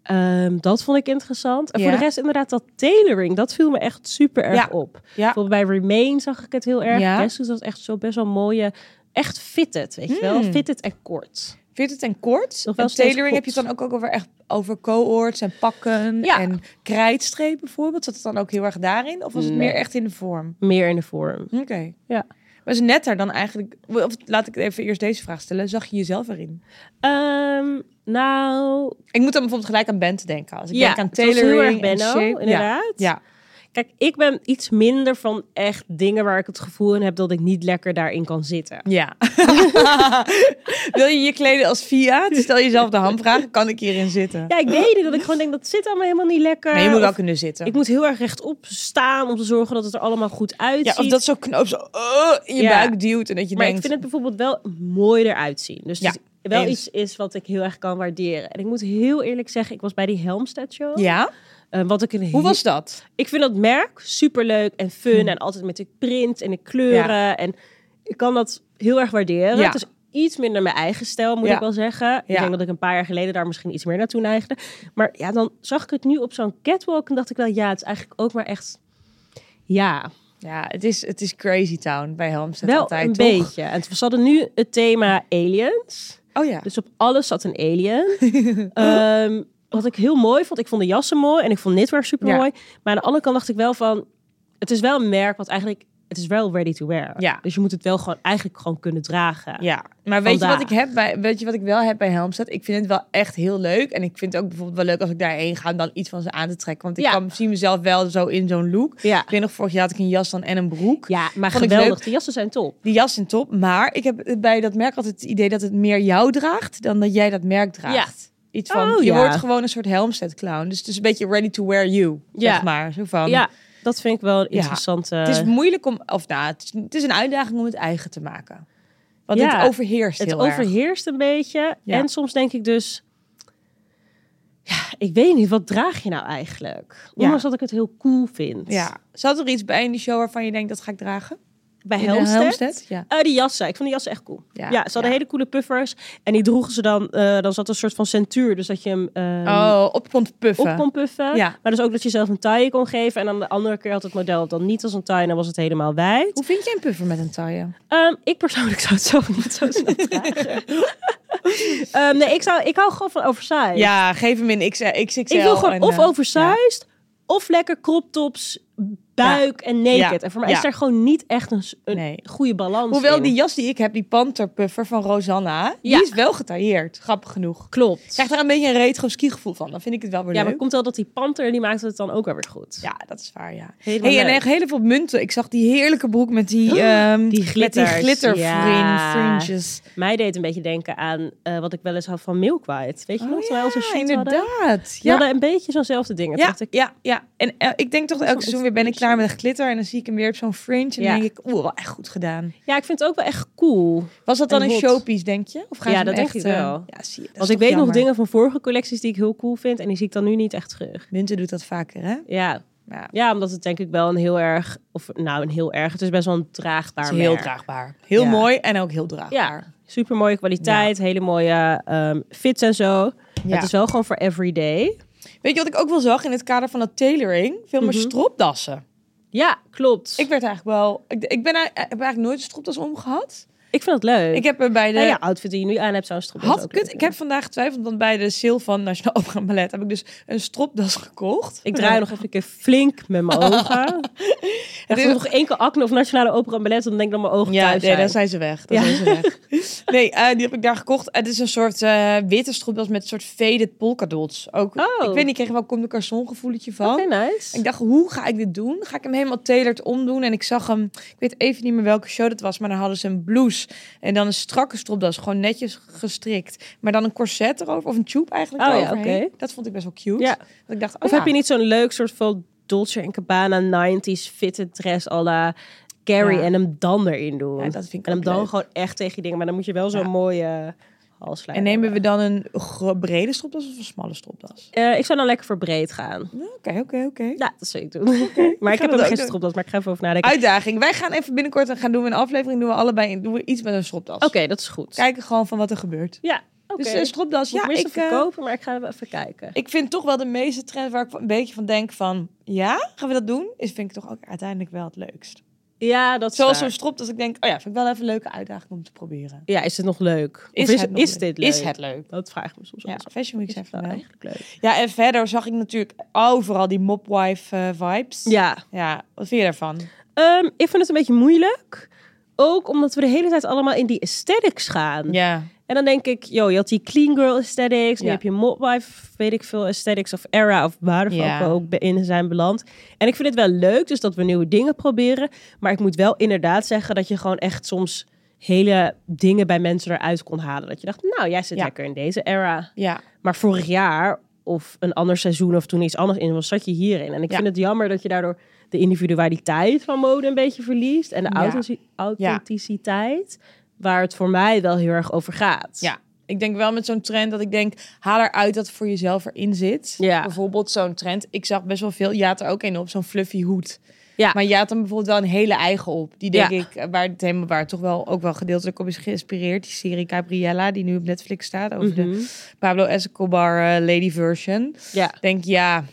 A: Ehm, dat vond ik interessant. En voor
B: Ja.
A: de rest inderdaad dat tailoring, dat viel me echt super erg
B: Ja.
A: op.
B: Ja.
A: Bijvoorbeeld bij Remain zag ik het heel erg.
B: Ja.
A: Ja. Guess was echt zo best wel mooie, echt fitted, weet je wel.
B: Hmm.
A: Fitted en kort.
B: Vind je het en kort?
A: Nog wel
B: En
A: steeds
B: tailoring heb je het
A: kort.
B: dan ook, ook over echt over cohorts en pakken
A: Ja.
B: en krijtstreep bijvoorbeeld. Zat het dan ook heel erg daarin? Of was het
A: Nee.
B: meer echt in de vorm?
A: Meer in de vorm.
B: Oké.
A: Ja.
B: Was het netter dan eigenlijk... Of laat ik even eerst deze vraag stellen. Zag je jezelf erin?
A: Ehm, nou,
B: Ik moet dan bijvoorbeeld gelijk aan Bent denken. Als ik denk aan
A: het was heel erg
B: tailoring en
A: Benno,
B: shape. Ja.
A: inderdaad.
B: Ja.
A: Kijk, ik ben iets minder van echt dingen waar ik het gevoel in heb dat ik niet lekker daarin kan zitten.
B: Ja. *laughs* Wil je je kleden als Fiat? Stel jezelf de hamvraag, kan ik hierin zitten?
A: Ja, ik weet niet dat ik gewoon denk dat zit allemaal helemaal niet lekker.
B: Nee, je moet wel
A: Of
B: kunnen zitten.
A: ik moet heel erg rechtop staan om te zorgen dat het er allemaal goed
B: ja,
A: uitziet.
B: of dat zo'n knoop zo eh, in je
A: Ja.
B: buik duwt en dat je
A: maar
B: denkt...
A: ik vind het bijvoorbeeld wel mooi eruit zien. Dus
B: Ja,
A: het is wel
B: eens.
A: iets is wat ik heel erg kan waarderen. En ik moet heel eerlijk zeggen, ik was bij die Helmstedt show.
B: Ja?
A: Eh, wat ik een
B: Hoe was dat?
A: Ik vind dat merk superleuk en fun
B: Hm.
A: en altijd met de print en de kleuren. En ik kan dat heel erg waarderen.
B: Ja.
A: Het is iets minder mijn eigen stijl, moet
B: Ja.
A: ik wel zeggen. Ik
B: Ja.
A: denk dat ik een paar jaar geleden daar misschien iets meer naartoe neigde. Maar ja, dan zag ik het nu op zo'n catwalk en dacht ik wel, ja, het is eigenlijk ook maar echt... Ja,
B: Ja, het is, het is Crazy Town bij Helmstedt
A: wel
B: altijd,
A: een
B: toch?
A: beetje. En ze hadden nu het thema aliens.
B: Oh ja.
A: Dus op alles zat een
B: *laughs*
A: alien. Ehm, wat ik heel mooi vond, ik vond de jassen mooi en ik vond knitwear super mooi. Maar aan de andere kant dacht ik wel van, het is wel een merk wat eigenlijk, het is wel ready to wear.
B: Ja.
A: Dus je moet het wel gewoon eigenlijk gewoon kunnen dragen.
B: Ja, maar weet je, wat
A: Vandaag.
B: ik heb bij, weet je wat ik wel heb bij Helmstedt? Ik vind het wel echt heel leuk. En ik vind het ook bijvoorbeeld wel leuk als ik daarheen ga om dan iets van ze aan te trekken. Want ik
A: Ja.
B: kan, zie mezelf wel zo in zo'n look.
A: Ja.
B: Ik weet nog, vorig jaar had ik een jas dan en een broek.
A: Ja, maar
B: Vond ik
A: geweldig.
B: leuk.
A: De jassen zijn top.
B: Die jas in top. Maar ik heb bij dat merk altijd het idee dat het meer jou draagt dan dat jij dat merk draagt. Iets van,
A: Oh,
B: je
A: ja.
B: wordt gewoon een soort Helmstedt clown. Dus het is een beetje ready to wear you,
A: Ja.
B: zeg maar. Zo van.
A: ja, dat vind ik wel een
B: Ja.
A: interessante...
B: Het is moeilijk om, of nou, het is, het is een uitdaging om het eigen te maken. Want
A: Ja.
B: het overheerst
A: het
B: heel erg.
A: overheerst een beetje.
B: Ja.
A: En soms denk ik dus... Ja, ik weet niet, wat draag je nou eigenlijk? Ondanks dat ik het heel cool vind.
B: Ja. Zat er iets bij in die show waarvan je denkt, dat ga ik dragen?
A: Bij
B: In de
A: Helmstedt?
B: Ja.
A: Eh, die jassen. Ik vond die jassen echt cool. Ja,
B: Ja,
A: ze hadden
B: ja.
A: hele coole puffers. En die droegen ze dan... eh, dan zat een soort van centuur. Dus dat je hem ehm,
B: Oh, op kon puffen.
A: op kon puffen.
B: Ja.
A: Maar dus ook dat je zelf een taille kon geven. En dan de andere keer had het model dan niet als een taille. Dan was het helemaal wijd.
B: Hoe vind jij een puffer met een taille?
A: Ehm, ik persoonlijk zou het zelf niet zo
B: *laughs*
A: snel dragen. Ehm, nee, ik, zou, ik hou gewoon van oversized.
B: Ja, geef hem in XL. XXL
A: ik wil gewoon
B: en,
A: of
B: eh,
A: oversized... of lekker crop tops... buik en naked.
B: Ja.
A: En voor mij
B: Ja.
A: is daar gewoon niet echt een, s- een
B: Nee.
A: goede balans
B: Hoewel
A: in.
B: die jas die ik heb, die panterpuffer van Rosanna,
A: Ja.
B: die is wel getailleerd. Grappig genoeg.
A: Klopt.
B: Ik krijg daar een beetje een retro ski gevoel van. Dan vind ik het wel weer
A: ja, maar
B: leuk.
A: komt wel dat die panter, die maakt het dan ook wel weer goed.
B: Ja, dat is waar, ja.
A: Helemaal
B: Hey, en
A: leuk.
B: echt heel veel munten. Ik zag die heerlijke broek met die, ehm
A: die
B: met die
A: glitters,
B: glitter
A: ja.
B: fringes.
A: Mij deed een beetje denken aan eh, wat ik wel eens had van Milkwhite. Weet je nog?
B: Oh
A: Toen wij onze shoot hadden.
B: inderdaad.
A: Die
B: Ja,
A: hadden een beetje zo'nzelfde dingen. Toen
B: ja,
A: dacht ik,
B: ja, ja. En eh, ik denk toch
A: Dat is
B: dat elk
A: wel
B: seizoen weer ben ik
A: inspiratie.
B: klaar met een glitter. En dan zie ik hem weer op zo'n fringe. En
A: Ja.
B: dan denk ik, oeh, wel echt goed gedaan.
A: ja, ik vind het ook wel echt cool.
B: Was dat dan
A: En
B: een
A: hot.
B: showpiece, denk je? Of ga
A: Ja,
B: je
A: dat
B: hem
A: denk
B: echt,
A: ik
B: eh,
A: wel.
B: ja, zie je, dat is
A: Want ik
B: toch
A: weet nog
B: jammer.
A: dingen van vorige collecties die ik heel cool vind. En die zie ik dan nu niet echt terug.
B: Munten doet dat vaker, hè?
A: Ja,
B: Ja.
A: ja omdat het denk ik wel een heel erg... Of nou, een heel erg. Het is best wel een draagbaar
B: Het is heel
A: merk.
B: draagbaar. Heel
A: Ja.
B: mooi en ook heel draagbaar.
A: Ja, super mooie kwaliteit. Hele mooie ehm, fits en zo.
B: Ja.
A: Het is wel gewoon voor everyday.
B: Weet je wat ik ook wel zag in het kader van dat tailoring? Veel
A: Mhm.
B: meer stropdassen.
A: Ja, klopt. Ik,
B: Ik werd eigenlijk wel... Ik, ik, ben, eigenlijk- ik heb eigenlijk nooit een stropdas omgehad.
A: vind het leuk.
B: Ik heb er bij de...
A: Nou ja, outfit die je nu aan hebt zou een stropdas
B: had
A: ook
B: ik, het,
A: leuk
B: ik
A: zijn.
B: heb vandaag getwijfeld, want bij de sale van Nationaal Opera en Ballet heb ik dus een stropdas gekocht.
A: Ik draai nog even een keer flink met
B: *laughs*
A: mijn ogen. en als
B: Dit-
A: er nog één keer acne of nationale opera en ballet, dan denk ik dat mijn ogen
B: Ja,
A: thuis
B: nee,
A: zijn.
B: dan zijn ze weg. Dan
A: Ja.
B: zijn ze weg. *laughs* Nee, eh, die heb ik daar gekocht. Het is een soort eh, witte stropdas met een soort faded polka dots. Ook,
A: Oh.
B: Ik weet niet, ik kreeg er wel comme de garçon gevoeletje van.
A: Oké, nice.
B: Ik dacht, hoe ga ik dit doen? Ga ik hem helemaal tailored omdoen? En ik zag hem, ik weet even niet meer welke show dat was, maar dan hadden ze een blouse en dan een strakke stropdas, gewoon netjes gestrikt. Maar dan een corset erover, of een tube eigenlijk
A: Oh ja,
B: eroverheen.
A: oké.
B: Dat vond ik best wel cute.
A: Ja.
B: Dat ik dacht, oh
A: Of
B: ja.
A: heb je niet zo'n leuk soort van Dolce en Cabana 90s fitte dress à la Carrie
B: Ja.
A: en hem dan erin doen?
B: Ja, dat vind ik
A: en hem
B: ook
A: dan
B: leuk.
A: gewoon echt tegen die dingen. Maar dan moet je wel zo'n
B: Ja.
A: mooie halslijn.
B: En nemen we dan een gro- brede stropdas of een smalle stropdas?
A: Eh, ik zou dan lekker voor breed gaan.
B: Ja, Oké, oké, oké.
A: Ja, dat zou ik *laughs* doen. maar ik
B: dat
A: heb hem
B: ook
A: gisteren
B: doen.
A: op dat, maar ik ga even over nadenken.
B: Uitdaging. Wij gaan even binnenkort en gaan doen we een aflevering, doen we allebei doen we iets met een stropdas.
A: Oké, dat is goed.
B: Kijken gewoon van wat er gebeurt.
A: Ja, oké.
B: Dus een stropdas,
A: ja,
B: ja,
A: ik
B: ik, eh,
A: verkopen, maar ik ga even kijken.
B: Ik vind toch wel de meeste trends waar ik een beetje van denk van... Ja, gaan we dat doen? Is vind ik toch ook uiteindelijk wel het leukst.
A: Ja, dat is
B: Zoals
A: waar.
B: zo'n strop dat ik denk... Oh ja, vind ik wel even een leuke uitdaging om te proberen.
A: Ja, is het nog leuk?
B: Is,
A: Of is,
B: het nog
A: is
B: leuk?
A: dit leuk?
B: Is het leuk?
A: Dat vraag ik me soms
B: Ja,
A: wel eens af.
B: Fashion Week
A: Is
B: zijn
A: het wel
B: van wel.
A: eigenlijk leuk?
B: Ja, en verder zag ik natuurlijk overal die mopwife eh, vibes.
A: Ja,
B: Ja, wat vind je daarvan?
A: Ehm, ik vind het een beetje moeilijk. Ook omdat we de hele tijd allemaal in die aesthetics gaan.
B: Ja.
A: En dan denk ik, joh, je had die clean girl aesthetics. Nu
B: Ja.
A: heb je mobwife, weet ik veel, aesthetics of era of waar we
B: Ja.
A: ook- ook be- in zijn beland. En ik vind het wel leuk, dus dat we nieuwe dingen proberen. Maar ik moet wel inderdaad zeggen dat je gewoon echt soms hele dingen bij mensen eruit kon halen. Dat je dacht, nou, jij zit
B: Ja.
A: lekker in deze era.
B: Ja.
A: Maar vorig jaar of een ander seizoen of toen iets anders in was, zat je hierin. En ik
B: Ja.
A: vind het jammer dat je daardoor de individualiteit van mode een beetje verliest. En de
B: Ja.
A: authentici- authenticiteit, waar het voor mij wel heel erg over gaat.
B: Ja. Ik denk wel met zo'n trend dat ik denk, haal eruit dat het voor jezelf erin zit.
A: Ja.
B: Bijvoorbeeld zo'n trend. Ik zag best wel veel, je had er ook een op, zo'n fluffy hoed.
A: Ja.
B: Maar je had hem bijvoorbeeld wel een hele eigen op. Die denk
A: Ja.
B: ik, eh, waar het helemaal, waar het toch wel ook wel gedeeltelijk op is geïnspireerd. Die serie Gabriella, die nu op Netflix staat, over
A: Mhm.
B: de Pablo Escobar eh, lady version.
A: Ja.
B: Denk ja,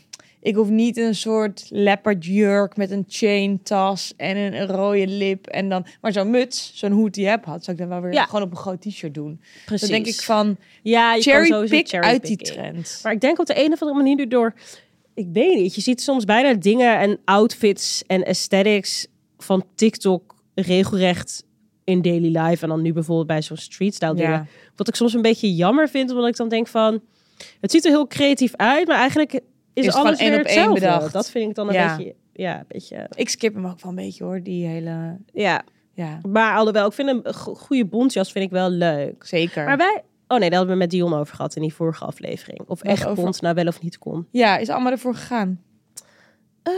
B: ik hoef niet een soort leopard jurk met een chain tas en een rode lip. En dan, maar zo'n muts, zo'n hoed die je hebt had, zou ik dan wel weer
A: Ja.
B: gewoon op een groot t-shirt doen.
A: Precies.
B: Dan denk ik van,
A: ja, je kan
B: cherry
A: sowieso
B: pick uit die
A: cherrypicking.
B: trend.
A: Maar ik denk op de een of andere manier door... Ik weet niet, je ziet soms bijna dingen en outfits en aesthetics van TikTok regelrecht in daily life. En dan nu bijvoorbeeld bij zo'n streetstyle dingen.
B: Ja.
A: Wat ik soms een beetje jammer vind, omdat ik dan denk van... Het ziet er heel creatief uit, maar eigenlijk is,
B: het gewoon
A: alles
B: één
A: weer
B: op één
A: hetzelfde.
B: bedacht.
A: Dat vind ik dan een
B: Ja.
A: beetje... Ja, een beetje...
B: Ik skip hem ook wel een beetje hoor, die hele,
A: Ja,
B: ja,
A: maar alhoewel, ik vind een go- goede bontjas vind ik wel leuk.
B: zeker.
A: Maar wij... Oh nee, daar hadden we met Dion over gehad in die vorige aflevering. Of
B: Wat
A: echt
B: over-
A: bont nou wel of niet kon.
B: ja, is allemaal ervoor gegaan.
A: Eh,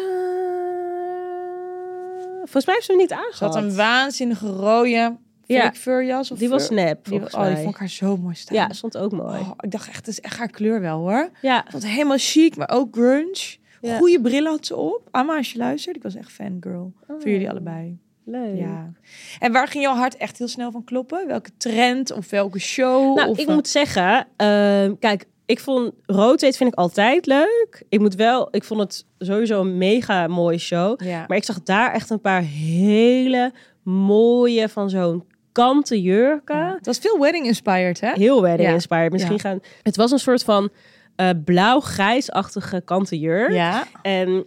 A: volgens mij heeft ze hem niet
B: Ze had
A: aangehad.
B: een waanzinnige rode
A: Ja.
B: ja. furjas. Of
A: Die was
B: fur-
A: nep,
B: die,
A: volgens
B: oh, die
A: mij.
B: vond ik haar zo mooi staan.
A: Ja, stond ook mooi.
B: Oh, ik dacht echt, het is echt haar kleur wel hoor.
A: Ja,
B: Ik vond het helemaal chic, maar ook grunge.
A: Ja.
B: Goede bril had ze op. Amma, als je luistert, ik was echt fangirl. Voor jullie allebei.
A: Oh, leuk.
B: Ja. En waar ging jouw hart echt heel snel van kloppen? Welke trend of welke show?
A: Nou,
B: of
A: ik
B: eh,
A: moet zeggen, ehm, kijk, ik vond Rotate vind ik altijd leuk. Ik moet wel, ik vond het sowieso een mega mooie show.
B: Ja.
A: Maar ik zag daar echt een paar hele mooie van zo'n kanten jurken.
B: Ja. Het was veel wedding-inspired, hè?
A: Heel wedding
B: Ja.
A: inspired. Misschien
B: Ja.
A: gaan. Het was een soort van eh blauw-grijsachtige kanten jurk.
B: Ja.
A: En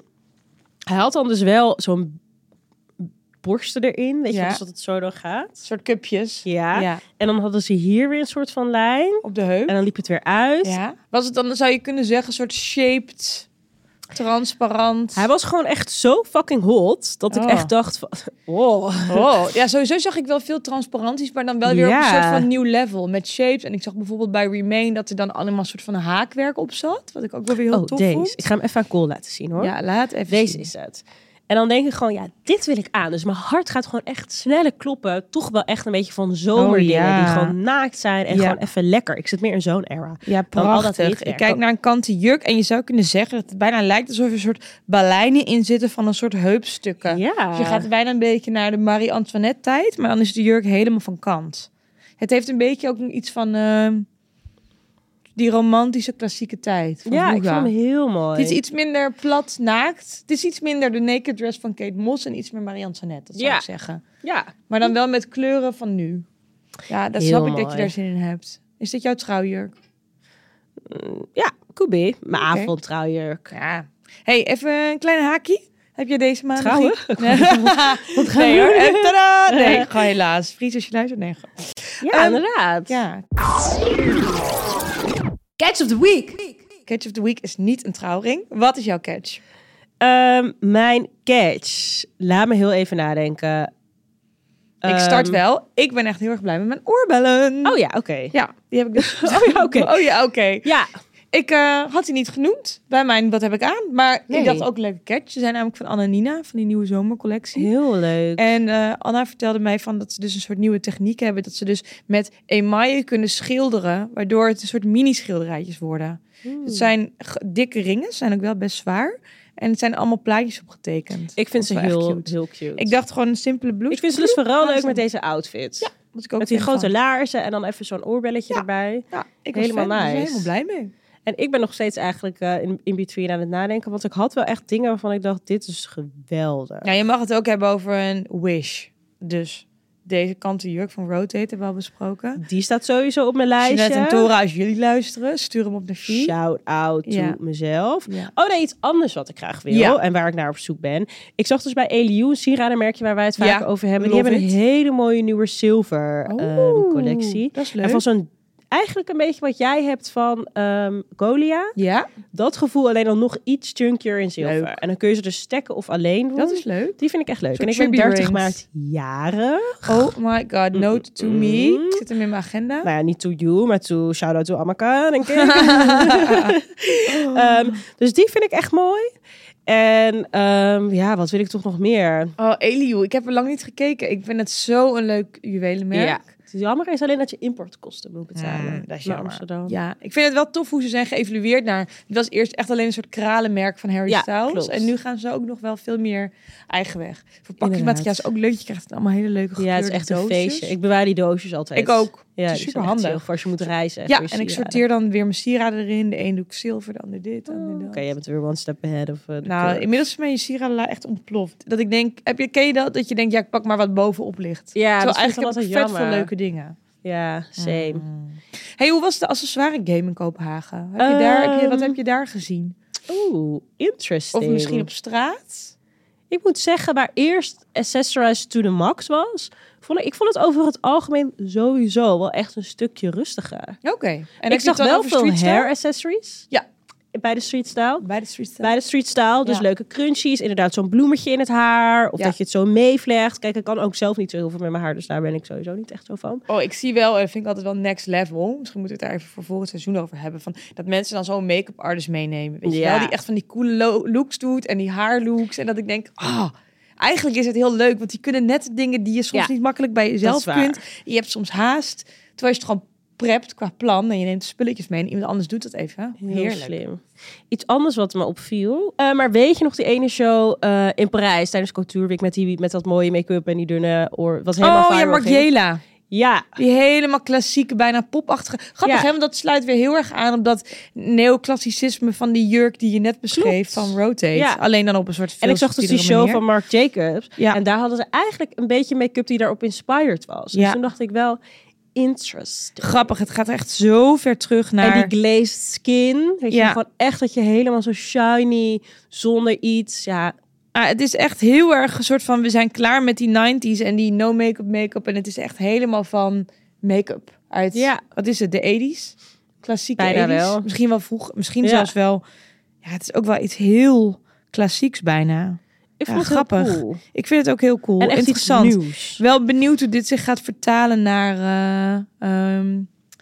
A: Hij had dan dus wel zo'n borsten erin. Weet
B: Ja.
A: je, dus dat het zo dan gaat.
B: soort cupjes.
A: Ja. En dan hadden ze hier weer een soort van lijn.
B: Op de heup.
A: En dus? dan liep het weer uit.
B: Ja. Was het dan, zou je kunnen zeggen, een soort shaped, transparant.
A: Hij was gewoon echt zo fucking hot. Dat
B: Oh.
A: ik echt dacht van... *laughs* Wow.
B: Oh, ja, sowieso zag ik wel veel transparanties, maar dan wel weer op een
A: Ja.
B: soort van nieuw level met shapes. En ik zag bijvoorbeeld bij Remain dat er dan allemaal een soort van haakwerk op zat, wat ik ook wel weer heel
A: Oh,
B: tof
A: deze.
B: vond.
A: Ik ga hem even aan Cole laten zien hoor.
B: Ja, laat even
A: Deze
B: zien.
A: is het. En dan denk ik gewoon, ja, dit wil ik aan. Dus mijn hart gaat gewoon echt sneller kloppen. Toch wel echt een beetje van zomerdingen.
B: Oh, ja.
A: Die gewoon naakt zijn en
B: Ja.
A: gewoon even lekker. Ik zit meer in zo'n era.
B: Ja,
A: Dan al dat
B: prachtig.
A: witwerk.
B: Ik kijk naar een kanten jurk en je zou kunnen zeggen dat het bijna lijkt alsof er een soort baleinen in zitten van een soort heupstukken.
A: Ja.
B: Dus je gaat bijna een beetje naar de Marie Antoinette tijd, maar dan is de jurk helemaal van kant. Het heeft een beetje ook iets van ehm, die romantische klassieke tijd. Van
A: ja, ik
B: vroeger.
A: vond hem heel mooi.
B: Het is iets minder plat naakt. Het is iets minder de naked dress van Kate Moss en iets meer Marie Antoinette, dat zou
A: Ja.
B: ik zeggen.
A: ja.
B: Maar dan wel met kleuren van nu. Ja, dat
A: Heel
B: snap ik dat
A: mooi.
B: je daar zin in hebt. Is dit jouw trouwjurk?
A: ja, could be. Mijn
B: Oké. *laughs*
A: avondtrouwjurk.
B: Ja. Hey, even een klein haakje. Heb je deze maand?
A: Trouwen? *laughs*
B: nog iets? Nee, nee hoor. Eh, tadaa! Nee, gewoon helaas. Fries als je luistert. Nee, gewoon-
A: Ja,
B: Ehm,
A: inderdaad.
B: Ja.
A: Catch of the week.
B: Catch of the week is niet een trouwring. Wat is jouw catch?
A: Ehm, mijn catch. Laat me heel even nadenken. Ehm,
B: ik start wel. Ik ben echt heel erg blij met mijn oorbellen.
A: Oh ja, oké.
B: Ja, die heb ik dus.
A: *laughs* Oh ja, oké.
B: Oh ja, oké.
A: Ja,
B: Ik eh, had die niet genoemd bij mijn Wat heb ik aan? Maar
A: Nee.
B: ik dacht ook leuke catch. Ze zijn namelijk van Anna en Nina, van die nieuwe zomercollectie.
A: heel leuk.
B: En eh, Anna vertelde mij van dat ze dus een soort nieuwe techniek hebben. Dat ze dus met emaille kunnen schilderen. Waardoor het een soort mini-schilderijtjes worden. Het zijn g- dikke ringen. Ze zijn ook wel best zwaar. En het zijn allemaal plaatjes opgetekend.
A: ik vind ze
B: Vond ik wel echt
A: heel
B: cute.
A: cute. heel cute.
B: Ik dacht gewoon een simpele blouse.
A: ik vind ze dus vooral
B: Ja,
A: leuk
B: ze-
A: met deze outfit.
B: Moet ik ook
A: Met die
B: vind van-
A: grote laarzen en dan even zo'n oorbelletje
B: Ja.
A: erbij.
B: Ja, ik was
A: Helemaal
B: helemaal fan. Ik was
A: nice.
B: helemaal blij mee.
A: En ik ben nog steeds eigenlijk eh, in, in between aan het nadenken. Want ik had wel echt dingen waarvan ik dacht, dit is geweldig.
B: Ja, Nou, je mag het ook hebben over een wish. Dus deze kanten jurk van Rotate hebben we al besproken.
A: Die staat sowieso op mijn lijstje.
B: Jeanette en Tora, als jullie luisteren, stuur hem op naar Fie.
A: Shout out to
B: Hm? Ja.
A: mezelf.
B: Ja.
A: Oh nee, iets anders wat ik graag wil
B: Ja.
A: en waar ik naar op zoek ben. Ik zag dus bij Eliu een sieradenmerkje waar wij het vaak
B: Ja,
A: over hebben. Die
B: love
A: hebben
B: it.
A: een hele mooie nieuwe zilver ehm, collectie.
B: Dat is leuk.
A: En van zo'n eigenlijk een beetje wat jij hebt van ehm Golia.
B: Ja,
A: Dat gevoel alleen dan nog iets chunkier in zilver.
B: Leuk.
A: En dan kun je ze dus stekken of alleen doen.
B: dat is leuk.
A: Die vind ik echt leuk.
B: Zo'n
A: En ik ben
B: tribute
A: 30
B: rings.
A: maart jaren.
B: Oh my god, note to me. Ik zit hem in mijn agenda.
A: Nou ja, niet to you, maar to shout out to Amaka, denk *laughs* ik. Ehm, dus die vind ik echt mooi. En ehm, ja, wat wil ik toch nog meer?
B: Oh, Eliu, ik heb er lang niet gekeken. Ik vind het zo een leuk juwelenmerk.
A: Ja. Het is jammer is alleen dat je importkosten moet betalen.
B: Mm, dat is
A: naar
B: jammer.
A: Amsterdam.
B: Ja, ik vind het wel tof hoe ze zijn geëvalueerd naar. Het was eerst echt alleen een soort kralenmerk van Harry
A: Ja,
B: Styles.
A: klopt.
B: En nu gaan ze ook nog wel veel meer eigen weg. Verpakkingsmateriaal
A: Inderdaad.
B: is ook leuk. Je krijgt allemaal hele leuke
A: Ja, het is
B: gekleurde
A: echt een
B: doosjes.
A: feestje. Ik bewaar die doosjes altijd.
B: Ik ook.
A: Ja,
B: is
A: die zijn
B: superhandig.
A: echt chill voor als je moet reizen. Dus
B: Ja,
A: voor je
B: en ik
A: sieraden.
B: sorteer dan weer mijn sieraden erin. De een doe ik zilver, de ander dit, de ander
A: Oh, Oké,
B: dat.
A: jij bent weer one step ahead of eh, de
B: nou,
A: curve.
B: inmiddels is mijn sieradenla echt ontploft. Dat ik denk, heb je, ken je dat? Dat je denkt, ja, ik pak maar wat bovenop ligt.
A: Ja,
B: Terwijl
A: dat vind ik
B: eigenlijk
A: altijd
B: heb ik vet
A: jammer.
B: veel leuke dingen.
A: Ja, same.
B: Hey, hoe was de accessoire game in Kopenhagen? Heb je daar, heb je- wat
A: Ehm,
B: heb je daar gezien?
A: Oeh, interesting.
B: Of misschien op straat?
A: Ik moet zeggen, waar eerst Accessorize to the Max was, vond ik, ik vond het over het algemeen sowieso wel echt een stukje rustiger.
B: Oké. En
A: ik zag wel veel
B: street
A: hair accessories.
B: Ja.
A: Bij de street style.
B: Bij de street style.
A: Bij de street style, dus
B: Ja.
A: leuke crunchies, inderdaad zo'n bloemetje in het haar, of
B: Ja.
A: dat je het zo meevlecht. Kijk, ik kan ook zelf niet zo heel veel met mijn haar, dus daar ben ik sowieso niet echt zo van.
B: Oh, ik zie wel, en vind ik altijd wel next level. Misschien moeten we het daar even voor volgend seizoen over hebben. Van, dat mensen dan zo'n make-up artist meenemen. Weet je
A: Ja.
B: wel? Die echt van die coole lo- looks doet en die haarlooks. En dat ik denk, ah, eigenlijk is het heel leuk. Want die kunnen net de dingen die je soms
A: Ja,
B: niet makkelijk bij jezelf
A: dat is waar.
B: kunt. Je hebt soms haast. Terwijl je het gewoon prept qua plan. En je neemt spulletjes mee en iemand anders doet dat even.
A: Heel
B: Heerlijk.
A: slim. Iets anders wat me opviel. Eh, maar weet je nog die ene show eh, in Parijs tijdens Couture Week met, die, met dat mooie make-up en die dunne oor? Wat helemaal
B: Oh, ja,
A: viral ging?
B: Margiela.
A: Ja,
B: Die helemaal klassieke, bijna popachtige. Grappig,
A: Ja.
B: hè? Want dat sluit weer heel erg aan op dat neoclassicisme van die jurk die je net beschreef
A: Klopt.
B: van Rotate.
A: Ja.
B: Alleen dan op een soort
A: En ik zag dus die show van Marc Jacobs.
B: Ja.
A: En daar hadden ze eigenlijk een beetje make-up die daarop inspired was.
B: Ja.
A: Dus toen dacht ik wel, interesting.
B: Grappig, het gaat echt zo ver terug naar...
A: En die glazed skin. Weet
B: Ja.
A: je, gewoon echt dat je helemaal zo shiny, zonder iets. Ja,
B: Ah, het is echt heel erg een soort van, we zijn klaar met die 90s en die no make-up make-up. En het is echt helemaal van make-up uit,
A: Ja.
B: wat is het, de 80s? Klassieke
A: Bijna
B: 80s.
A: wel.
B: Misschien wel vroeg, misschien
A: Ja.
B: zelfs wel. Ja, het is ook wel iets heel klassieks bijna.
A: Ik
B: Ja,
A: vond het heel
B: grappig.
A: cool.
B: Ik vind het ook heel cool,
A: en echt
B: interessant.
A: iets nieuws.
B: Wel benieuwd hoe dit zich gaat vertalen naar, eh, ehm,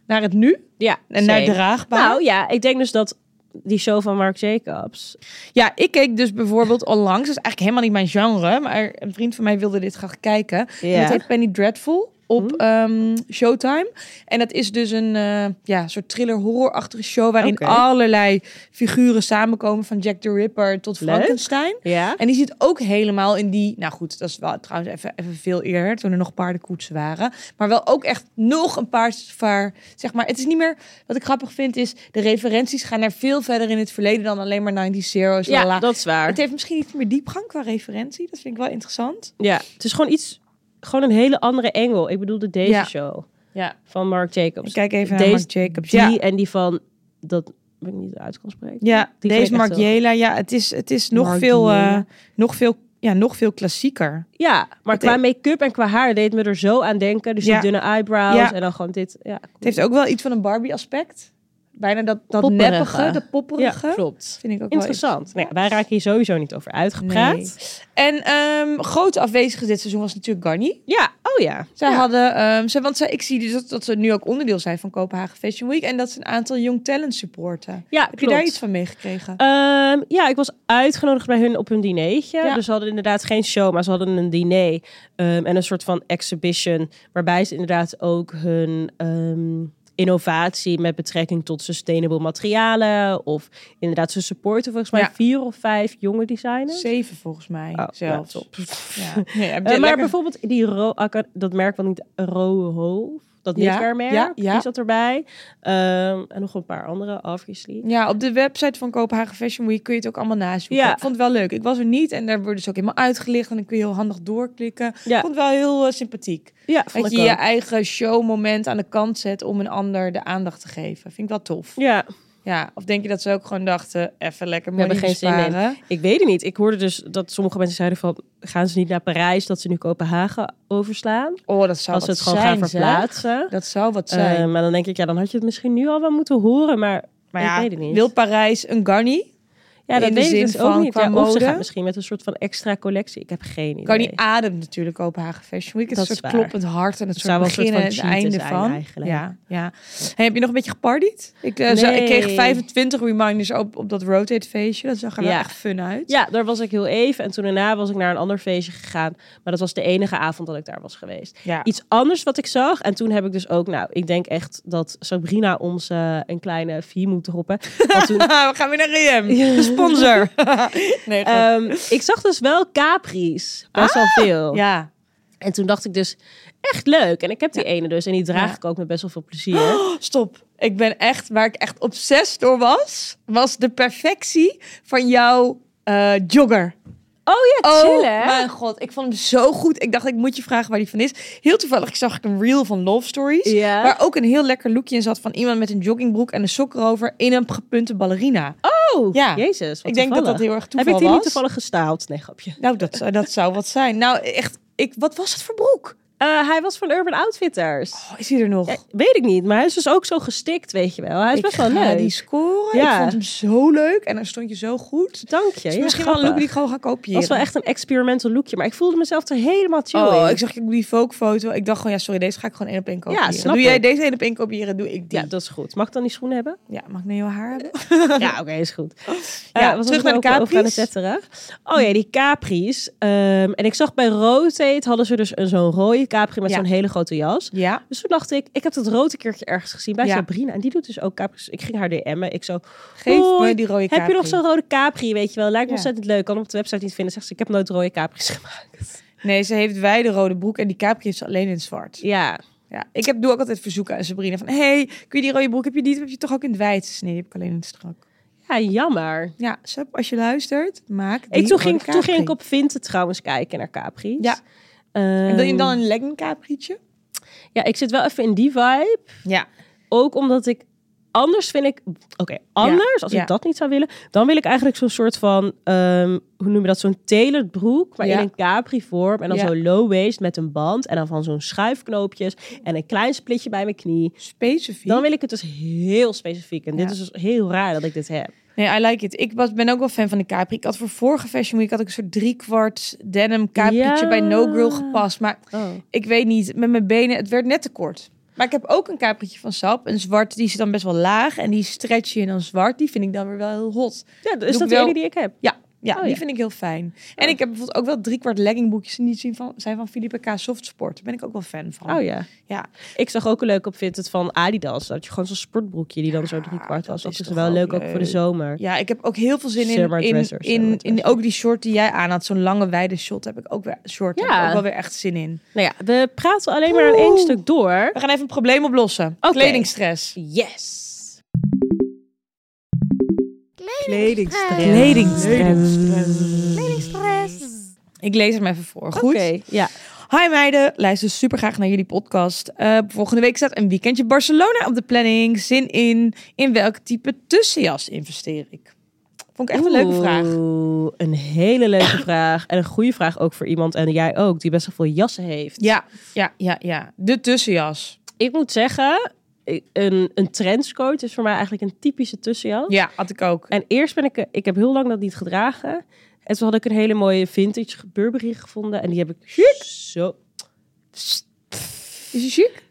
B: naar het nu
A: Ja,
B: en naar
A: same.
B: draagbaar.
A: Nou ja, ik denk dus dat die show van Marc Jacobs.
B: Ja, ik keek dus bijvoorbeeld onlangs, dat is eigenlijk helemaal niet mijn genre, maar een vriend van mij wilde dit graag kijken. En dat heet Penny Dreadful op
A: Hm.
B: ehm, Showtime. En dat is dus een eh, ja, soort thriller-horrorachtige show waarin
A: Oké.
B: allerlei figuren samenkomen, van Jack the Ripper tot
A: Leuk.
B: Frankenstein.
A: Ja.
B: En die zit ook helemaal in die. Nou goed, dat is wel trouwens even, even veel eerder, toen er nog paardenkoetsen waren. Maar wel ook echt nog een paar. paar- Zeg maar, het is niet meer. Wat ik grappig vind is. De referenties gaan naar veel verder in het verleden dan alleen maar 90 zeros.
A: Ja,
B: lala.
A: dat is waar.
B: Het heeft misschien iets meer diepgang qua referentie. Dat vind ik wel interessant.
A: Ja, het is gewoon iets, gewoon een hele andere engel. Ik bedoelde deze
B: Ja.
A: show
B: Ja.
A: van Marc Jacobs.
B: Ik kijk even
A: Deze-
B: naar Mark Jacobs.
A: Die
B: Ja.
A: en die van, dat ben ik niet uit kan spreken.
B: Ja,
A: Die vind
B: deze
A: ik echt
B: Mark
A: wel-
B: Jela. Ja, het is, het is nog,
A: Mark
B: veel, eh,
A: Jela.
B: nog, veel, ja, nog veel klassieker.
A: Ja, maar
B: Het
A: qua
B: heeft-
A: make-up en qua haar deed me er zo aan denken. Dus
B: Ja.
A: die dunne eyebrows
B: Ja.
A: en dan gewoon dit. Ja,
B: Het heeft ook wel iets van een Barbie-aspect. Bijna dat, dat
A: Popperige.
B: neppige, dat popperige.
A: ja klopt.
B: Vind ik ook
A: Interessant. Nou ja, wij raken hier sowieso niet over
B: wel
A: uitgepraat.
B: interessant. En ehm grote afwezige dit seizoen was natuurlijk Garni.
A: Ja, oh ja.
B: Zij
A: Ja.
B: hadden, ehm, ze, want zij, ik zie dus dat, dat ze nu ook onderdeel zijn van Kopenhagen Fashion Week en dat ze een aantal Young Talent supporten. Heb
A: Ja,
B: je daar
A: klopt.
B: iets van meegekregen?
A: Ehm, ja, ik was uitgenodigd bij hun op hun dinertje.
B: Ja.
A: Dus ze hadden inderdaad geen show, maar ze hadden een diner ehm, en een soort van exhibition. Waarbij ze inderdaad ook hun ehm, innovatie met betrekking tot sustainable materialen. Of inderdaad, ze supporten volgens mij
B: Ja.
A: vier of vijf jonge designers.
B: Zeven volgens mij
A: Oh,
B: zelfs.
A: ja, top. *laughs*
B: Ja. Nee, heb
A: Eh, maar
B: je lekker-
A: bijvoorbeeld die ro aca- dat merk van niet Roho, dat
B: Ja,
A: knitwearmerk,
B: ja, ja.
A: die zat erbij. Ehm, en nog een paar andere, obviously.
B: Ja, op de website van Kopenhagen Fashion Week kun je het ook allemaal nazoeken.
A: Ja.
B: Ik vond het wel leuk. Ik was er niet en daar worden ze ook helemaal uitgelicht en dan kun je heel handig doorklikken.
A: Ja.
B: Ik vond het wel heel eh, sympathiek.
A: Ja, vond
B: Dat
A: ik
B: je je
A: ook.
B: eigen showmoment aan de kant zet om een ander de aandacht te geven. Vind ik wel tof.
A: Ja,
B: Ja, of denk je dat ze ook gewoon dachten, even lekker
A: We
B: money
A: hebben geen zin in.
B: besparen.
A: ik weet het niet. Ik hoorde dus dat sommige mensen zeiden van... gaan ze niet naar Parijs, dat ze nu Kopenhagen overslaan?
B: Oh, dat zou
A: als ze
B: wat
A: het gewoon
B: zijn,
A: gaan verplaatsen.
B: zeg. Dat zou wat zijn.
A: Eh, maar dan denk ik, ja, dan had je het misschien nu al wel moeten horen. Maar,
B: maar
A: ik
B: ja,
A: weet het niet.
B: wil Parijs een garni?
A: ja, dat
B: in de
A: weet ik
B: zin
A: dus ook
B: van
A: niet.
B: qua
A: Ja, of ze
B: mode?
A: gaat misschien met een soort van extra collectie. Ik heb geen idee.
B: Garni ademt natuurlijk Kopenhagen Fashion Week. Het
A: Dat
B: is een
A: is
B: soort
A: waar.
B: kloppend hart en het,
A: Het
B: soort
A: zou wel een soort
B: begin en het
A: van cheaten
B: einde
A: zijn
B: van.
A: eigenlijk.
B: Ja, ja. Hey, heb je nog een beetje gepartied? Ik, eh, zou- ik kreeg
A: Nee.
B: 25 reminders op, op dat Rotate feestje. Dat zag er wel
A: Ja.
B: echt fun uit.
A: Ja, daar was ik heel even. En toen daarna was ik naar een ander feestje gegaan. Maar dat was de enige avond dat ik daar was geweest.
B: Ja. *laughs*
A: Iets anders wat ik zag. En toen heb ik dus ook, nou, ik denk echt dat Sabrina ons eh, een kleine fee moet
B: *laughs*
A: roepen. Want toen,
B: We gaan weer naar REM. Sponsor.
A: *laughs*
B: nee, grap.
A: ehm, ik zag dus wel Capri's. Best wel veel.
B: Ah, ja.
A: En toen dacht ik dus, echt leuk. En ik heb die ene dus. En die draag
B: Ja.
A: ik ook met best wel veel plezier.
B: Oh, stop. Ik ben echt, waar ik echt obsessief door was, was de perfectie van jouw eh, jogger.
A: Oh ja,
B: Oh
A: chill hè?
B: mijn god, ik vond hem zo goed. Ik dacht, ik moet je vragen waar die van is. Heel toevallig zag ik een reel van Love Stories.
A: Ja.
B: Waar ook een heel lekker lookje in zat van iemand met een joggingbroek en een sok erover in een gepunte ballerina.
A: Oh,
B: Ja.
A: jezus. Wat
B: ik denk dat
A: toevallig.
B: dat heel erg
A: Heb
B: toeval
A: ik die
B: was.
A: niet toevallig gestaald? Nee, grapje.
B: Nou, dat, zou- dat zou wat zijn. Nou, echt, ik, wat was het voor broek?
A: Eh, hij was van Urban Outfitters.
B: Oh, is hij er nog?
A: Ja, weet ik niet, maar hij is dus ook zo gestikt, weet je wel. Hij is
B: Ik
A: best wel
B: ga
A: leuk.
B: die scoren.
A: Ja.
B: Ik vond hem zo leuk en dan stond je zo goed.
A: Dank je.
B: Dus
A: ja,
B: misschien wel
A: grappig.
B: een look die ik gewoon ga kopiëren.
A: Het was wel echt een experimental lookje, maar ik voelde mezelf er helemaal chill
B: Oh,
A: in.
B: ik zag ook die Vogue-foto. Ik dacht gewoon, ja, sorry, deze ga ik gewoon één op één kopiëren.
A: snap
B: doe jij
A: ik.
B: deze één op één kopiëren, doe ik die.
A: Ja,
B: Ja,
A: dat is goed. Mag ik dan die schoenen hebben?
B: mag ik naar jouw haar
A: *laughs*
B: hebben? *laughs*
A: ja, oké, is goed.
B: Ja,
A: Eh, wat
B: terug
A: was
B: naar de
A: ik ook over aan het
B: Capri's.
A: tetteren? Oh ja, die Capri's. Ehm, en ik zag bij Rotate hadden ze dus een- zo'n rode Capri met
B: Ja.
A: zo'n hele grote jas.
B: Ja.
A: Dus toen dacht ik, ik heb dat rood een keertje ergens gezien bij
B: Ja.
A: Sabrina. En die doet dus ook Capri's. Ik ging haar DM'en. Ik zo,
B: Geef
A: Hoi,
B: me die rode
A: Heb je nog
B: Capri.
A: zo'n rode capri, weet je wel? Lijkt me
B: Ja.
A: ontzettend leuk. Kan op de website niet vinden. Zegt ze, ik heb nooit rode capris *laughs* gemaakt.
B: Nee, ze heeft wij de rode broek en die Capri heeft ze alleen in het zwart.
A: Ja,
B: Ja, ik heb, doe ook altijd verzoeken aan Sabrina van... hey, kun je die rode broek, heb je die, heb je toch ook in het wijd? Dus Nee, die heb ik alleen in het strak.
A: ja jammer.
B: Ja, Sub, als je luistert, maak die
A: Ik, toen,
B: rode
A: ging, toen ging
B: Capri.
A: ik op Vinted trouwens kijken naar capris.
B: Ja.
A: Ehm,
B: En wil je dan een legging Capri'tje?
A: Ja, ik zit wel even in die vibe.
B: Ja.
A: Ook omdat ik anders vind ik, oké, anders, als ik
B: ja.
A: dat niet zou willen, dan wil ik eigenlijk zo'n soort van, ehm, hoe noem je dat, zo'n tailored broek, maar
B: Ja.
A: in een capri-vorm en dan
B: Ja.
A: zo low-waist met een band en dan van zo'n schuifknoopjes en een klein splitje bij mijn knie.
B: Specifiek.
A: Dan wil ik het dus heel specifiek en dit
B: Ja.
A: is dus heel raar dat ik dit heb.
B: Nee, I like it. Ik was, ben ook wel fan van de Capri. Ik had voor vorige Fashion Week had ik een soort driekwart denim Capri'tje
A: Ja.
B: bij No Grill gepast. Maar
A: Oh.
B: ik weet niet, met mijn benen, het werd net te kort. Maar ik heb ook een Capri'tje van Sap. Een zwart, die is dan best wel laag. En die stretchy en dan zwart, die vind ik dan weer wel heel hot.
A: Ja, is
B: ik
A: dat de
B: wel-
A: enige die ik heb?
B: Ja, ja
A: Oh,
B: die
A: ja. Oh.
B: vind ik heel fijn. En ik heb bijvoorbeeld ook wel driekwart leggingboekjes. En die zien van, zijn van Philippe K. Soft Sport. Daar ben ik ook wel fan van.
A: Oh ja.
B: Ja.
A: Ik zag ook een leuk op Vinted van Adidas. Dat je gewoon zo'n sportbroekje die dan zo drie kwart
B: dat
A: was. Dat
B: is
A: is
B: toch
A: wel
B: ook
A: leuk, ook voor de
B: leuk.
A: zomer.
B: Ja, ik heb ook heel veel zin in,
A: Summer
B: in, in,
A: dressers,
B: in,
A: summer dressers.
B: ook die short die jij aan had. Zo'n lange wijde short heb ik ook weer, short heb ik
A: Ja.
B: ook wel weer echt zin in.
A: Nou ja, we praten alleen maar aan één
B: Oeh.
A: stuk door.
B: We gaan even een probleem oplossen.
A: Oké.
B: Kledingstress.
A: Yes.
C: Kledingstress. Kledingstress.
B: Ik lees hem even voor. Goed.
A: Oké, ja.
B: Hi meiden, luister super graag naar jullie podcast. Eh, volgende week staat een weekendje Barcelona op de planning. Zin in. In welk type tussenjas investeer ik? Vond ik echt een leuke vraag.
A: Oeh, Een hele leuke vraag. En een goede vraag ook voor iemand, en jij ook, die best wel veel jassen heeft.
B: Ja, ja, ja, ja. De tussenjas.
A: Ik moet zeggen, ik- een, een trenchcoat is voor mij eigenlijk een typische tussenjas.
B: Ja, had ik ook.
A: En eerst ben ik, ik heb heel lang dat niet gedragen. En toen had ik een hele mooie vintage Burberry gevonden. En die heb ik zo...
B: Is die chic?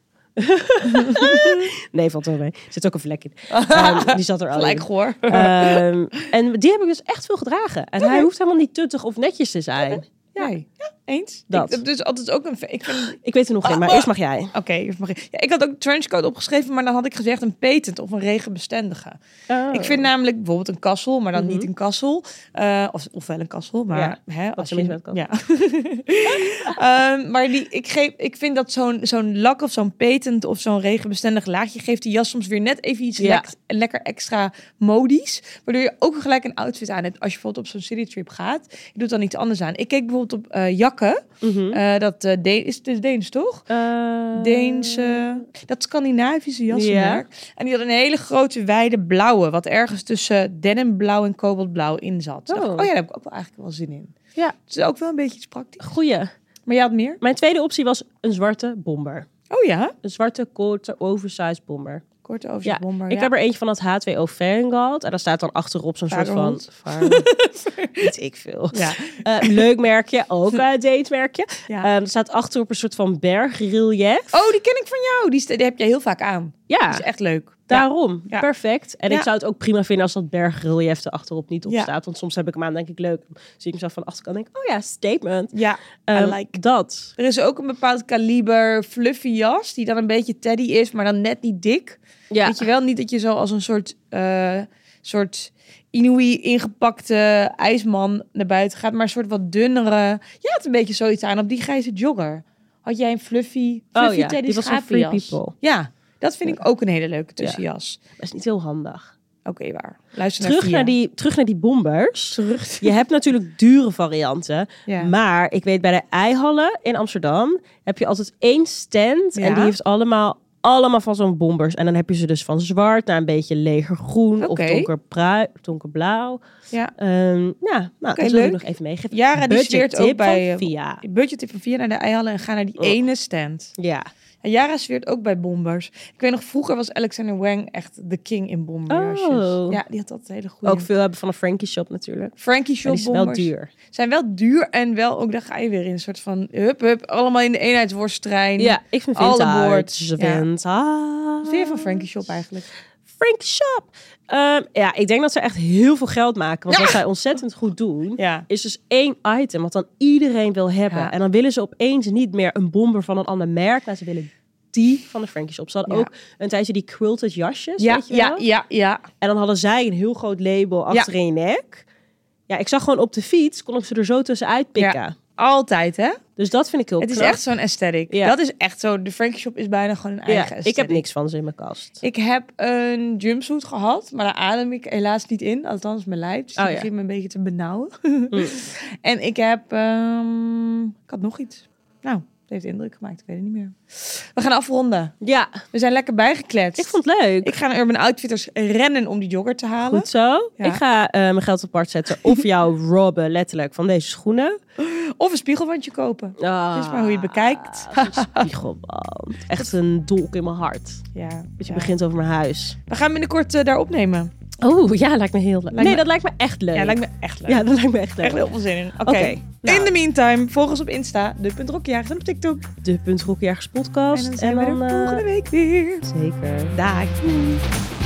A: Nee, valt wel mee. Er zit ook een vlek in.
B: *laughs*
A: Ehm, die zat er al
B: Gelijk
A: in.
B: hoor.
A: Ehm, en die heb ik dus echt veel gedragen. En hij hoeft helemaal niet tuttig of netjes te zijn.
B: Ja. ja, eens.
A: Dat.
B: Ik heb dus altijd ook een... Ik vind...
A: Ik weet er nog geen, maar eerst mag jij.
B: Oké, eerst mag ik. Ja, ik had ook trenchcoat opgeschreven, maar dan had ik gezegd een patent of een regenbestendige.
A: Oh.
B: Ik vind namelijk bijvoorbeeld een kassel, maar dan
A: Hmm. Mhm.
B: niet een kassel. Eh, of, of wel een kassel, maar hè, als
A: er
B: je...
A: mis met kassel.
B: Ja. *laughs* Ehm, maar die, ik, geef, ik vind dat zo'n zo'n lak of zo'n patent of zo'n regenbestendig laagje... geeft die jas soms weer net even iets
A: Ja.
B: lek- lekker extra modisch. Waardoor je ook gelijk een outfit aan hebt als je bijvoorbeeld op zo'n citytrip gaat. Je doet dan iets anders aan. Ik keek bijvoorbeeld op eh, jakken.
A: Mhm.
B: Eh, dat eh, De- is, het is Deens, toch?
A: Eh,
B: Deense, dat Scandinavische jassenmerk. En die had een hele grote wijde blauwe, wat ergens tussen denimblauw en kobaltblauw in zat. Dacht ik,
A: Oh.
B: Oh. ja, daar heb ik ook wel eigenlijk wel zin in.
A: Ja.
B: Het is ook wel een beetje iets praktisch.
A: Goeie.
B: Maar jij had meer?
A: Mijn tweede optie was een zwarte bomber.
B: Oh ja,
A: Een zwarte, korte, oversized bomber.
B: korte over
A: Ja, Ik heb er eentje van het H2O Vanguard. En daar staat dan achterop zo'n soort van...
B: Varehond. *laughs*
A: Varehond. Weet ik veel.
B: Ja.
A: Eh, leuk merkje,
B: *laughs*
A: ook een datemerkje.
B: Ja.
A: Ehm, er staat achterop een soort van bergrelief.
B: Eh, Oh, die ken ik van jou. Die, st- die heb jij heel vaak aan.
A: ja,
B: Die is echt leuk.
A: daarom.
B: Ja.
A: Perfect. En
B: Ja.
A: ik zou het ook prima vinden als dat bergrelief er achterop niet op
B: Ja.
A: staat. Want soms heb ik hem aan, denk ik, leuk. Dan zie ik mezelf van de achterkant en denk ik, oh ja, statement.
B: Ja,
A: Ehm,
B: I like.
A: Dat.
B: Er is ook een bepaald kaliber fluffy jas, die dan een beetje teddy is, maar dan net niet dik.
A: Ja.
B: Weet je wel, niet dat je zo als een soort, eh, soort Inui ingepakte ijsman naar buiten gaat, maar een soort wat dunnere. Je had een beetje zoiets aan op die grijze jogger. Had jij een fluffy,
A: Oh
B: fluffy
A: ja,
B: teddy
A: die was van Free
B: schapenjas?
A: People.
B: Ja, dat vind ik ook een hele leuke tussenjas.
A: Dat is niet heel handig.
B: Oké, waar. Luister
A: Terug
B: Via.
A: naar, die, terug naar die bombers.
B: Terug.
A: Je hebt natuurlijk dure varianten.
B: Ja.
A: Maar ik weet bij de Eihallen in Amsterdam heb je altijd één stand.
B: Ja.
A: En die heeft allemaal, allemaal van zo'n bombers. En dan heb je ze dus van zwart naar een beetje legergroen of
B: Oké.
A: donkerbrui- donkerblauw.
B: Ja.
A: Ehm, ja, nou, dat
B: Oké,
A: wil ik
B: leuk.
A: nog even meegeven.
B: Jara die
A: Budget
B: zweert
A: tip
B: ook bij
A: van
B: eh,
A: Via.
B: budget van via naar de Eihallen en ga naar die
A: Oh.
B: ene stand.
A: Ja.
B: En Jara zweert ook bij bombers. Ik weet nog vroeger was Alexander Wang echt de king in bomberjasjes.
A: Oh.
B: Ja, die had altijd hele goede.
A: Ook veel hebben van een Frankie shop natuurlijk.
B: Frankie
A: Maar
B: Shop
A: die is wel
B: bombers
A: duur.
B: zijn wel duur en wel ook daar ga je weer in een soort van hup hup allemaal in de eenheidsworsttrein.
A: Ja, ik vind
B: Alle
A: vintage.
B: boards, ja.
A: Vintage.
B: Wat vind je van Frankie Shop eigenlijk?
A: Frankie Shop. Ehm, ja, ik denk dat ze echt heel veel geld maken. Want
B: Ja.
A: wat zij ontzettend goed doen,
B: Ja.
A: is dus één item wat dan iedereen wil hebben.
B: Ja.
A: En dan willen ze opeens niet meer een bomber van een ander merk, maar ze willen die van de Frankie Shop. Ze hadden
B: Ja.
A: ook een tijdje die quilted jasjes,
B: Ja,
A: weet je wel?
B: ja, ja, ja.
A: En dan hadden zij een heel groot label
B: Ja.
A: achter in je nek. Ja, ik zag gewoon op de fiets, kon ik ze er zo tussenuit pikken.
B: Altijd hè?
A: Dus dat vind ik heel
B: Het is
A: knap.
B: echt zo'n aesthetic.
A: Ja.
B: Dat is echt zo. De Frankie Shop is bijna gewoon een eigen
A: ja,
B: aesthetic.
A: ik heb niks van ze in mijn kast.
B: Ik heb een jumpsuit gehad, maar daar adem ik helaas niet in. Althans, mijn lijf. Dus die
A: Oh, ja. Hmm.
B: begint me een beetje *laughs* te benauwen. en ik heb... ehm, ik had nog iets. Nou, dat heeft indruk gemaakt, ik weet het niet meer. We gaan afronden.
A: Ja,
B: We zijn lekker bijgekletst.
A: ik vond het leuk.
B: Ik ga naar Urban Outfitters rennen om die jogger te halen.
A: Goed zo.
B: Ja.
A: Ik ga eh, mijn geld apart zetten.
B: *laughs*
A: Of jou robben, letterlijk, van deze schoenen.
B: Of een spiegelwandje kopen.
A: Ah,
B: Het is maar hoe je het bekijkt.
A: een Spiegelwand. Echt een dolk in mijn hart.
B: Ja,
A: Dat je
B: ja.
A: begint over mijn huis.
B: We gaan binnenkort eh, daar opnemen.
A: Oh, ja, lijkt me heel leuk.
B: Lijkt
A: nee,
B: me-
A: dat lijkt me echt leuk.
B: Ja, lijkt me echt leuk.
A: Ja, dat lijkt me echt leuk.
B: echt heel veel zin in. Oké.
A: Oké, nou.
B: In the meantime, volg ons op Insta, de.rokkenjagers en op TikTok.
A: De Punt Hoekjagers podcast.
B: En dan zijn we er
A: eh,
B: volgende week weer.
A: Zeker.
B: Dag.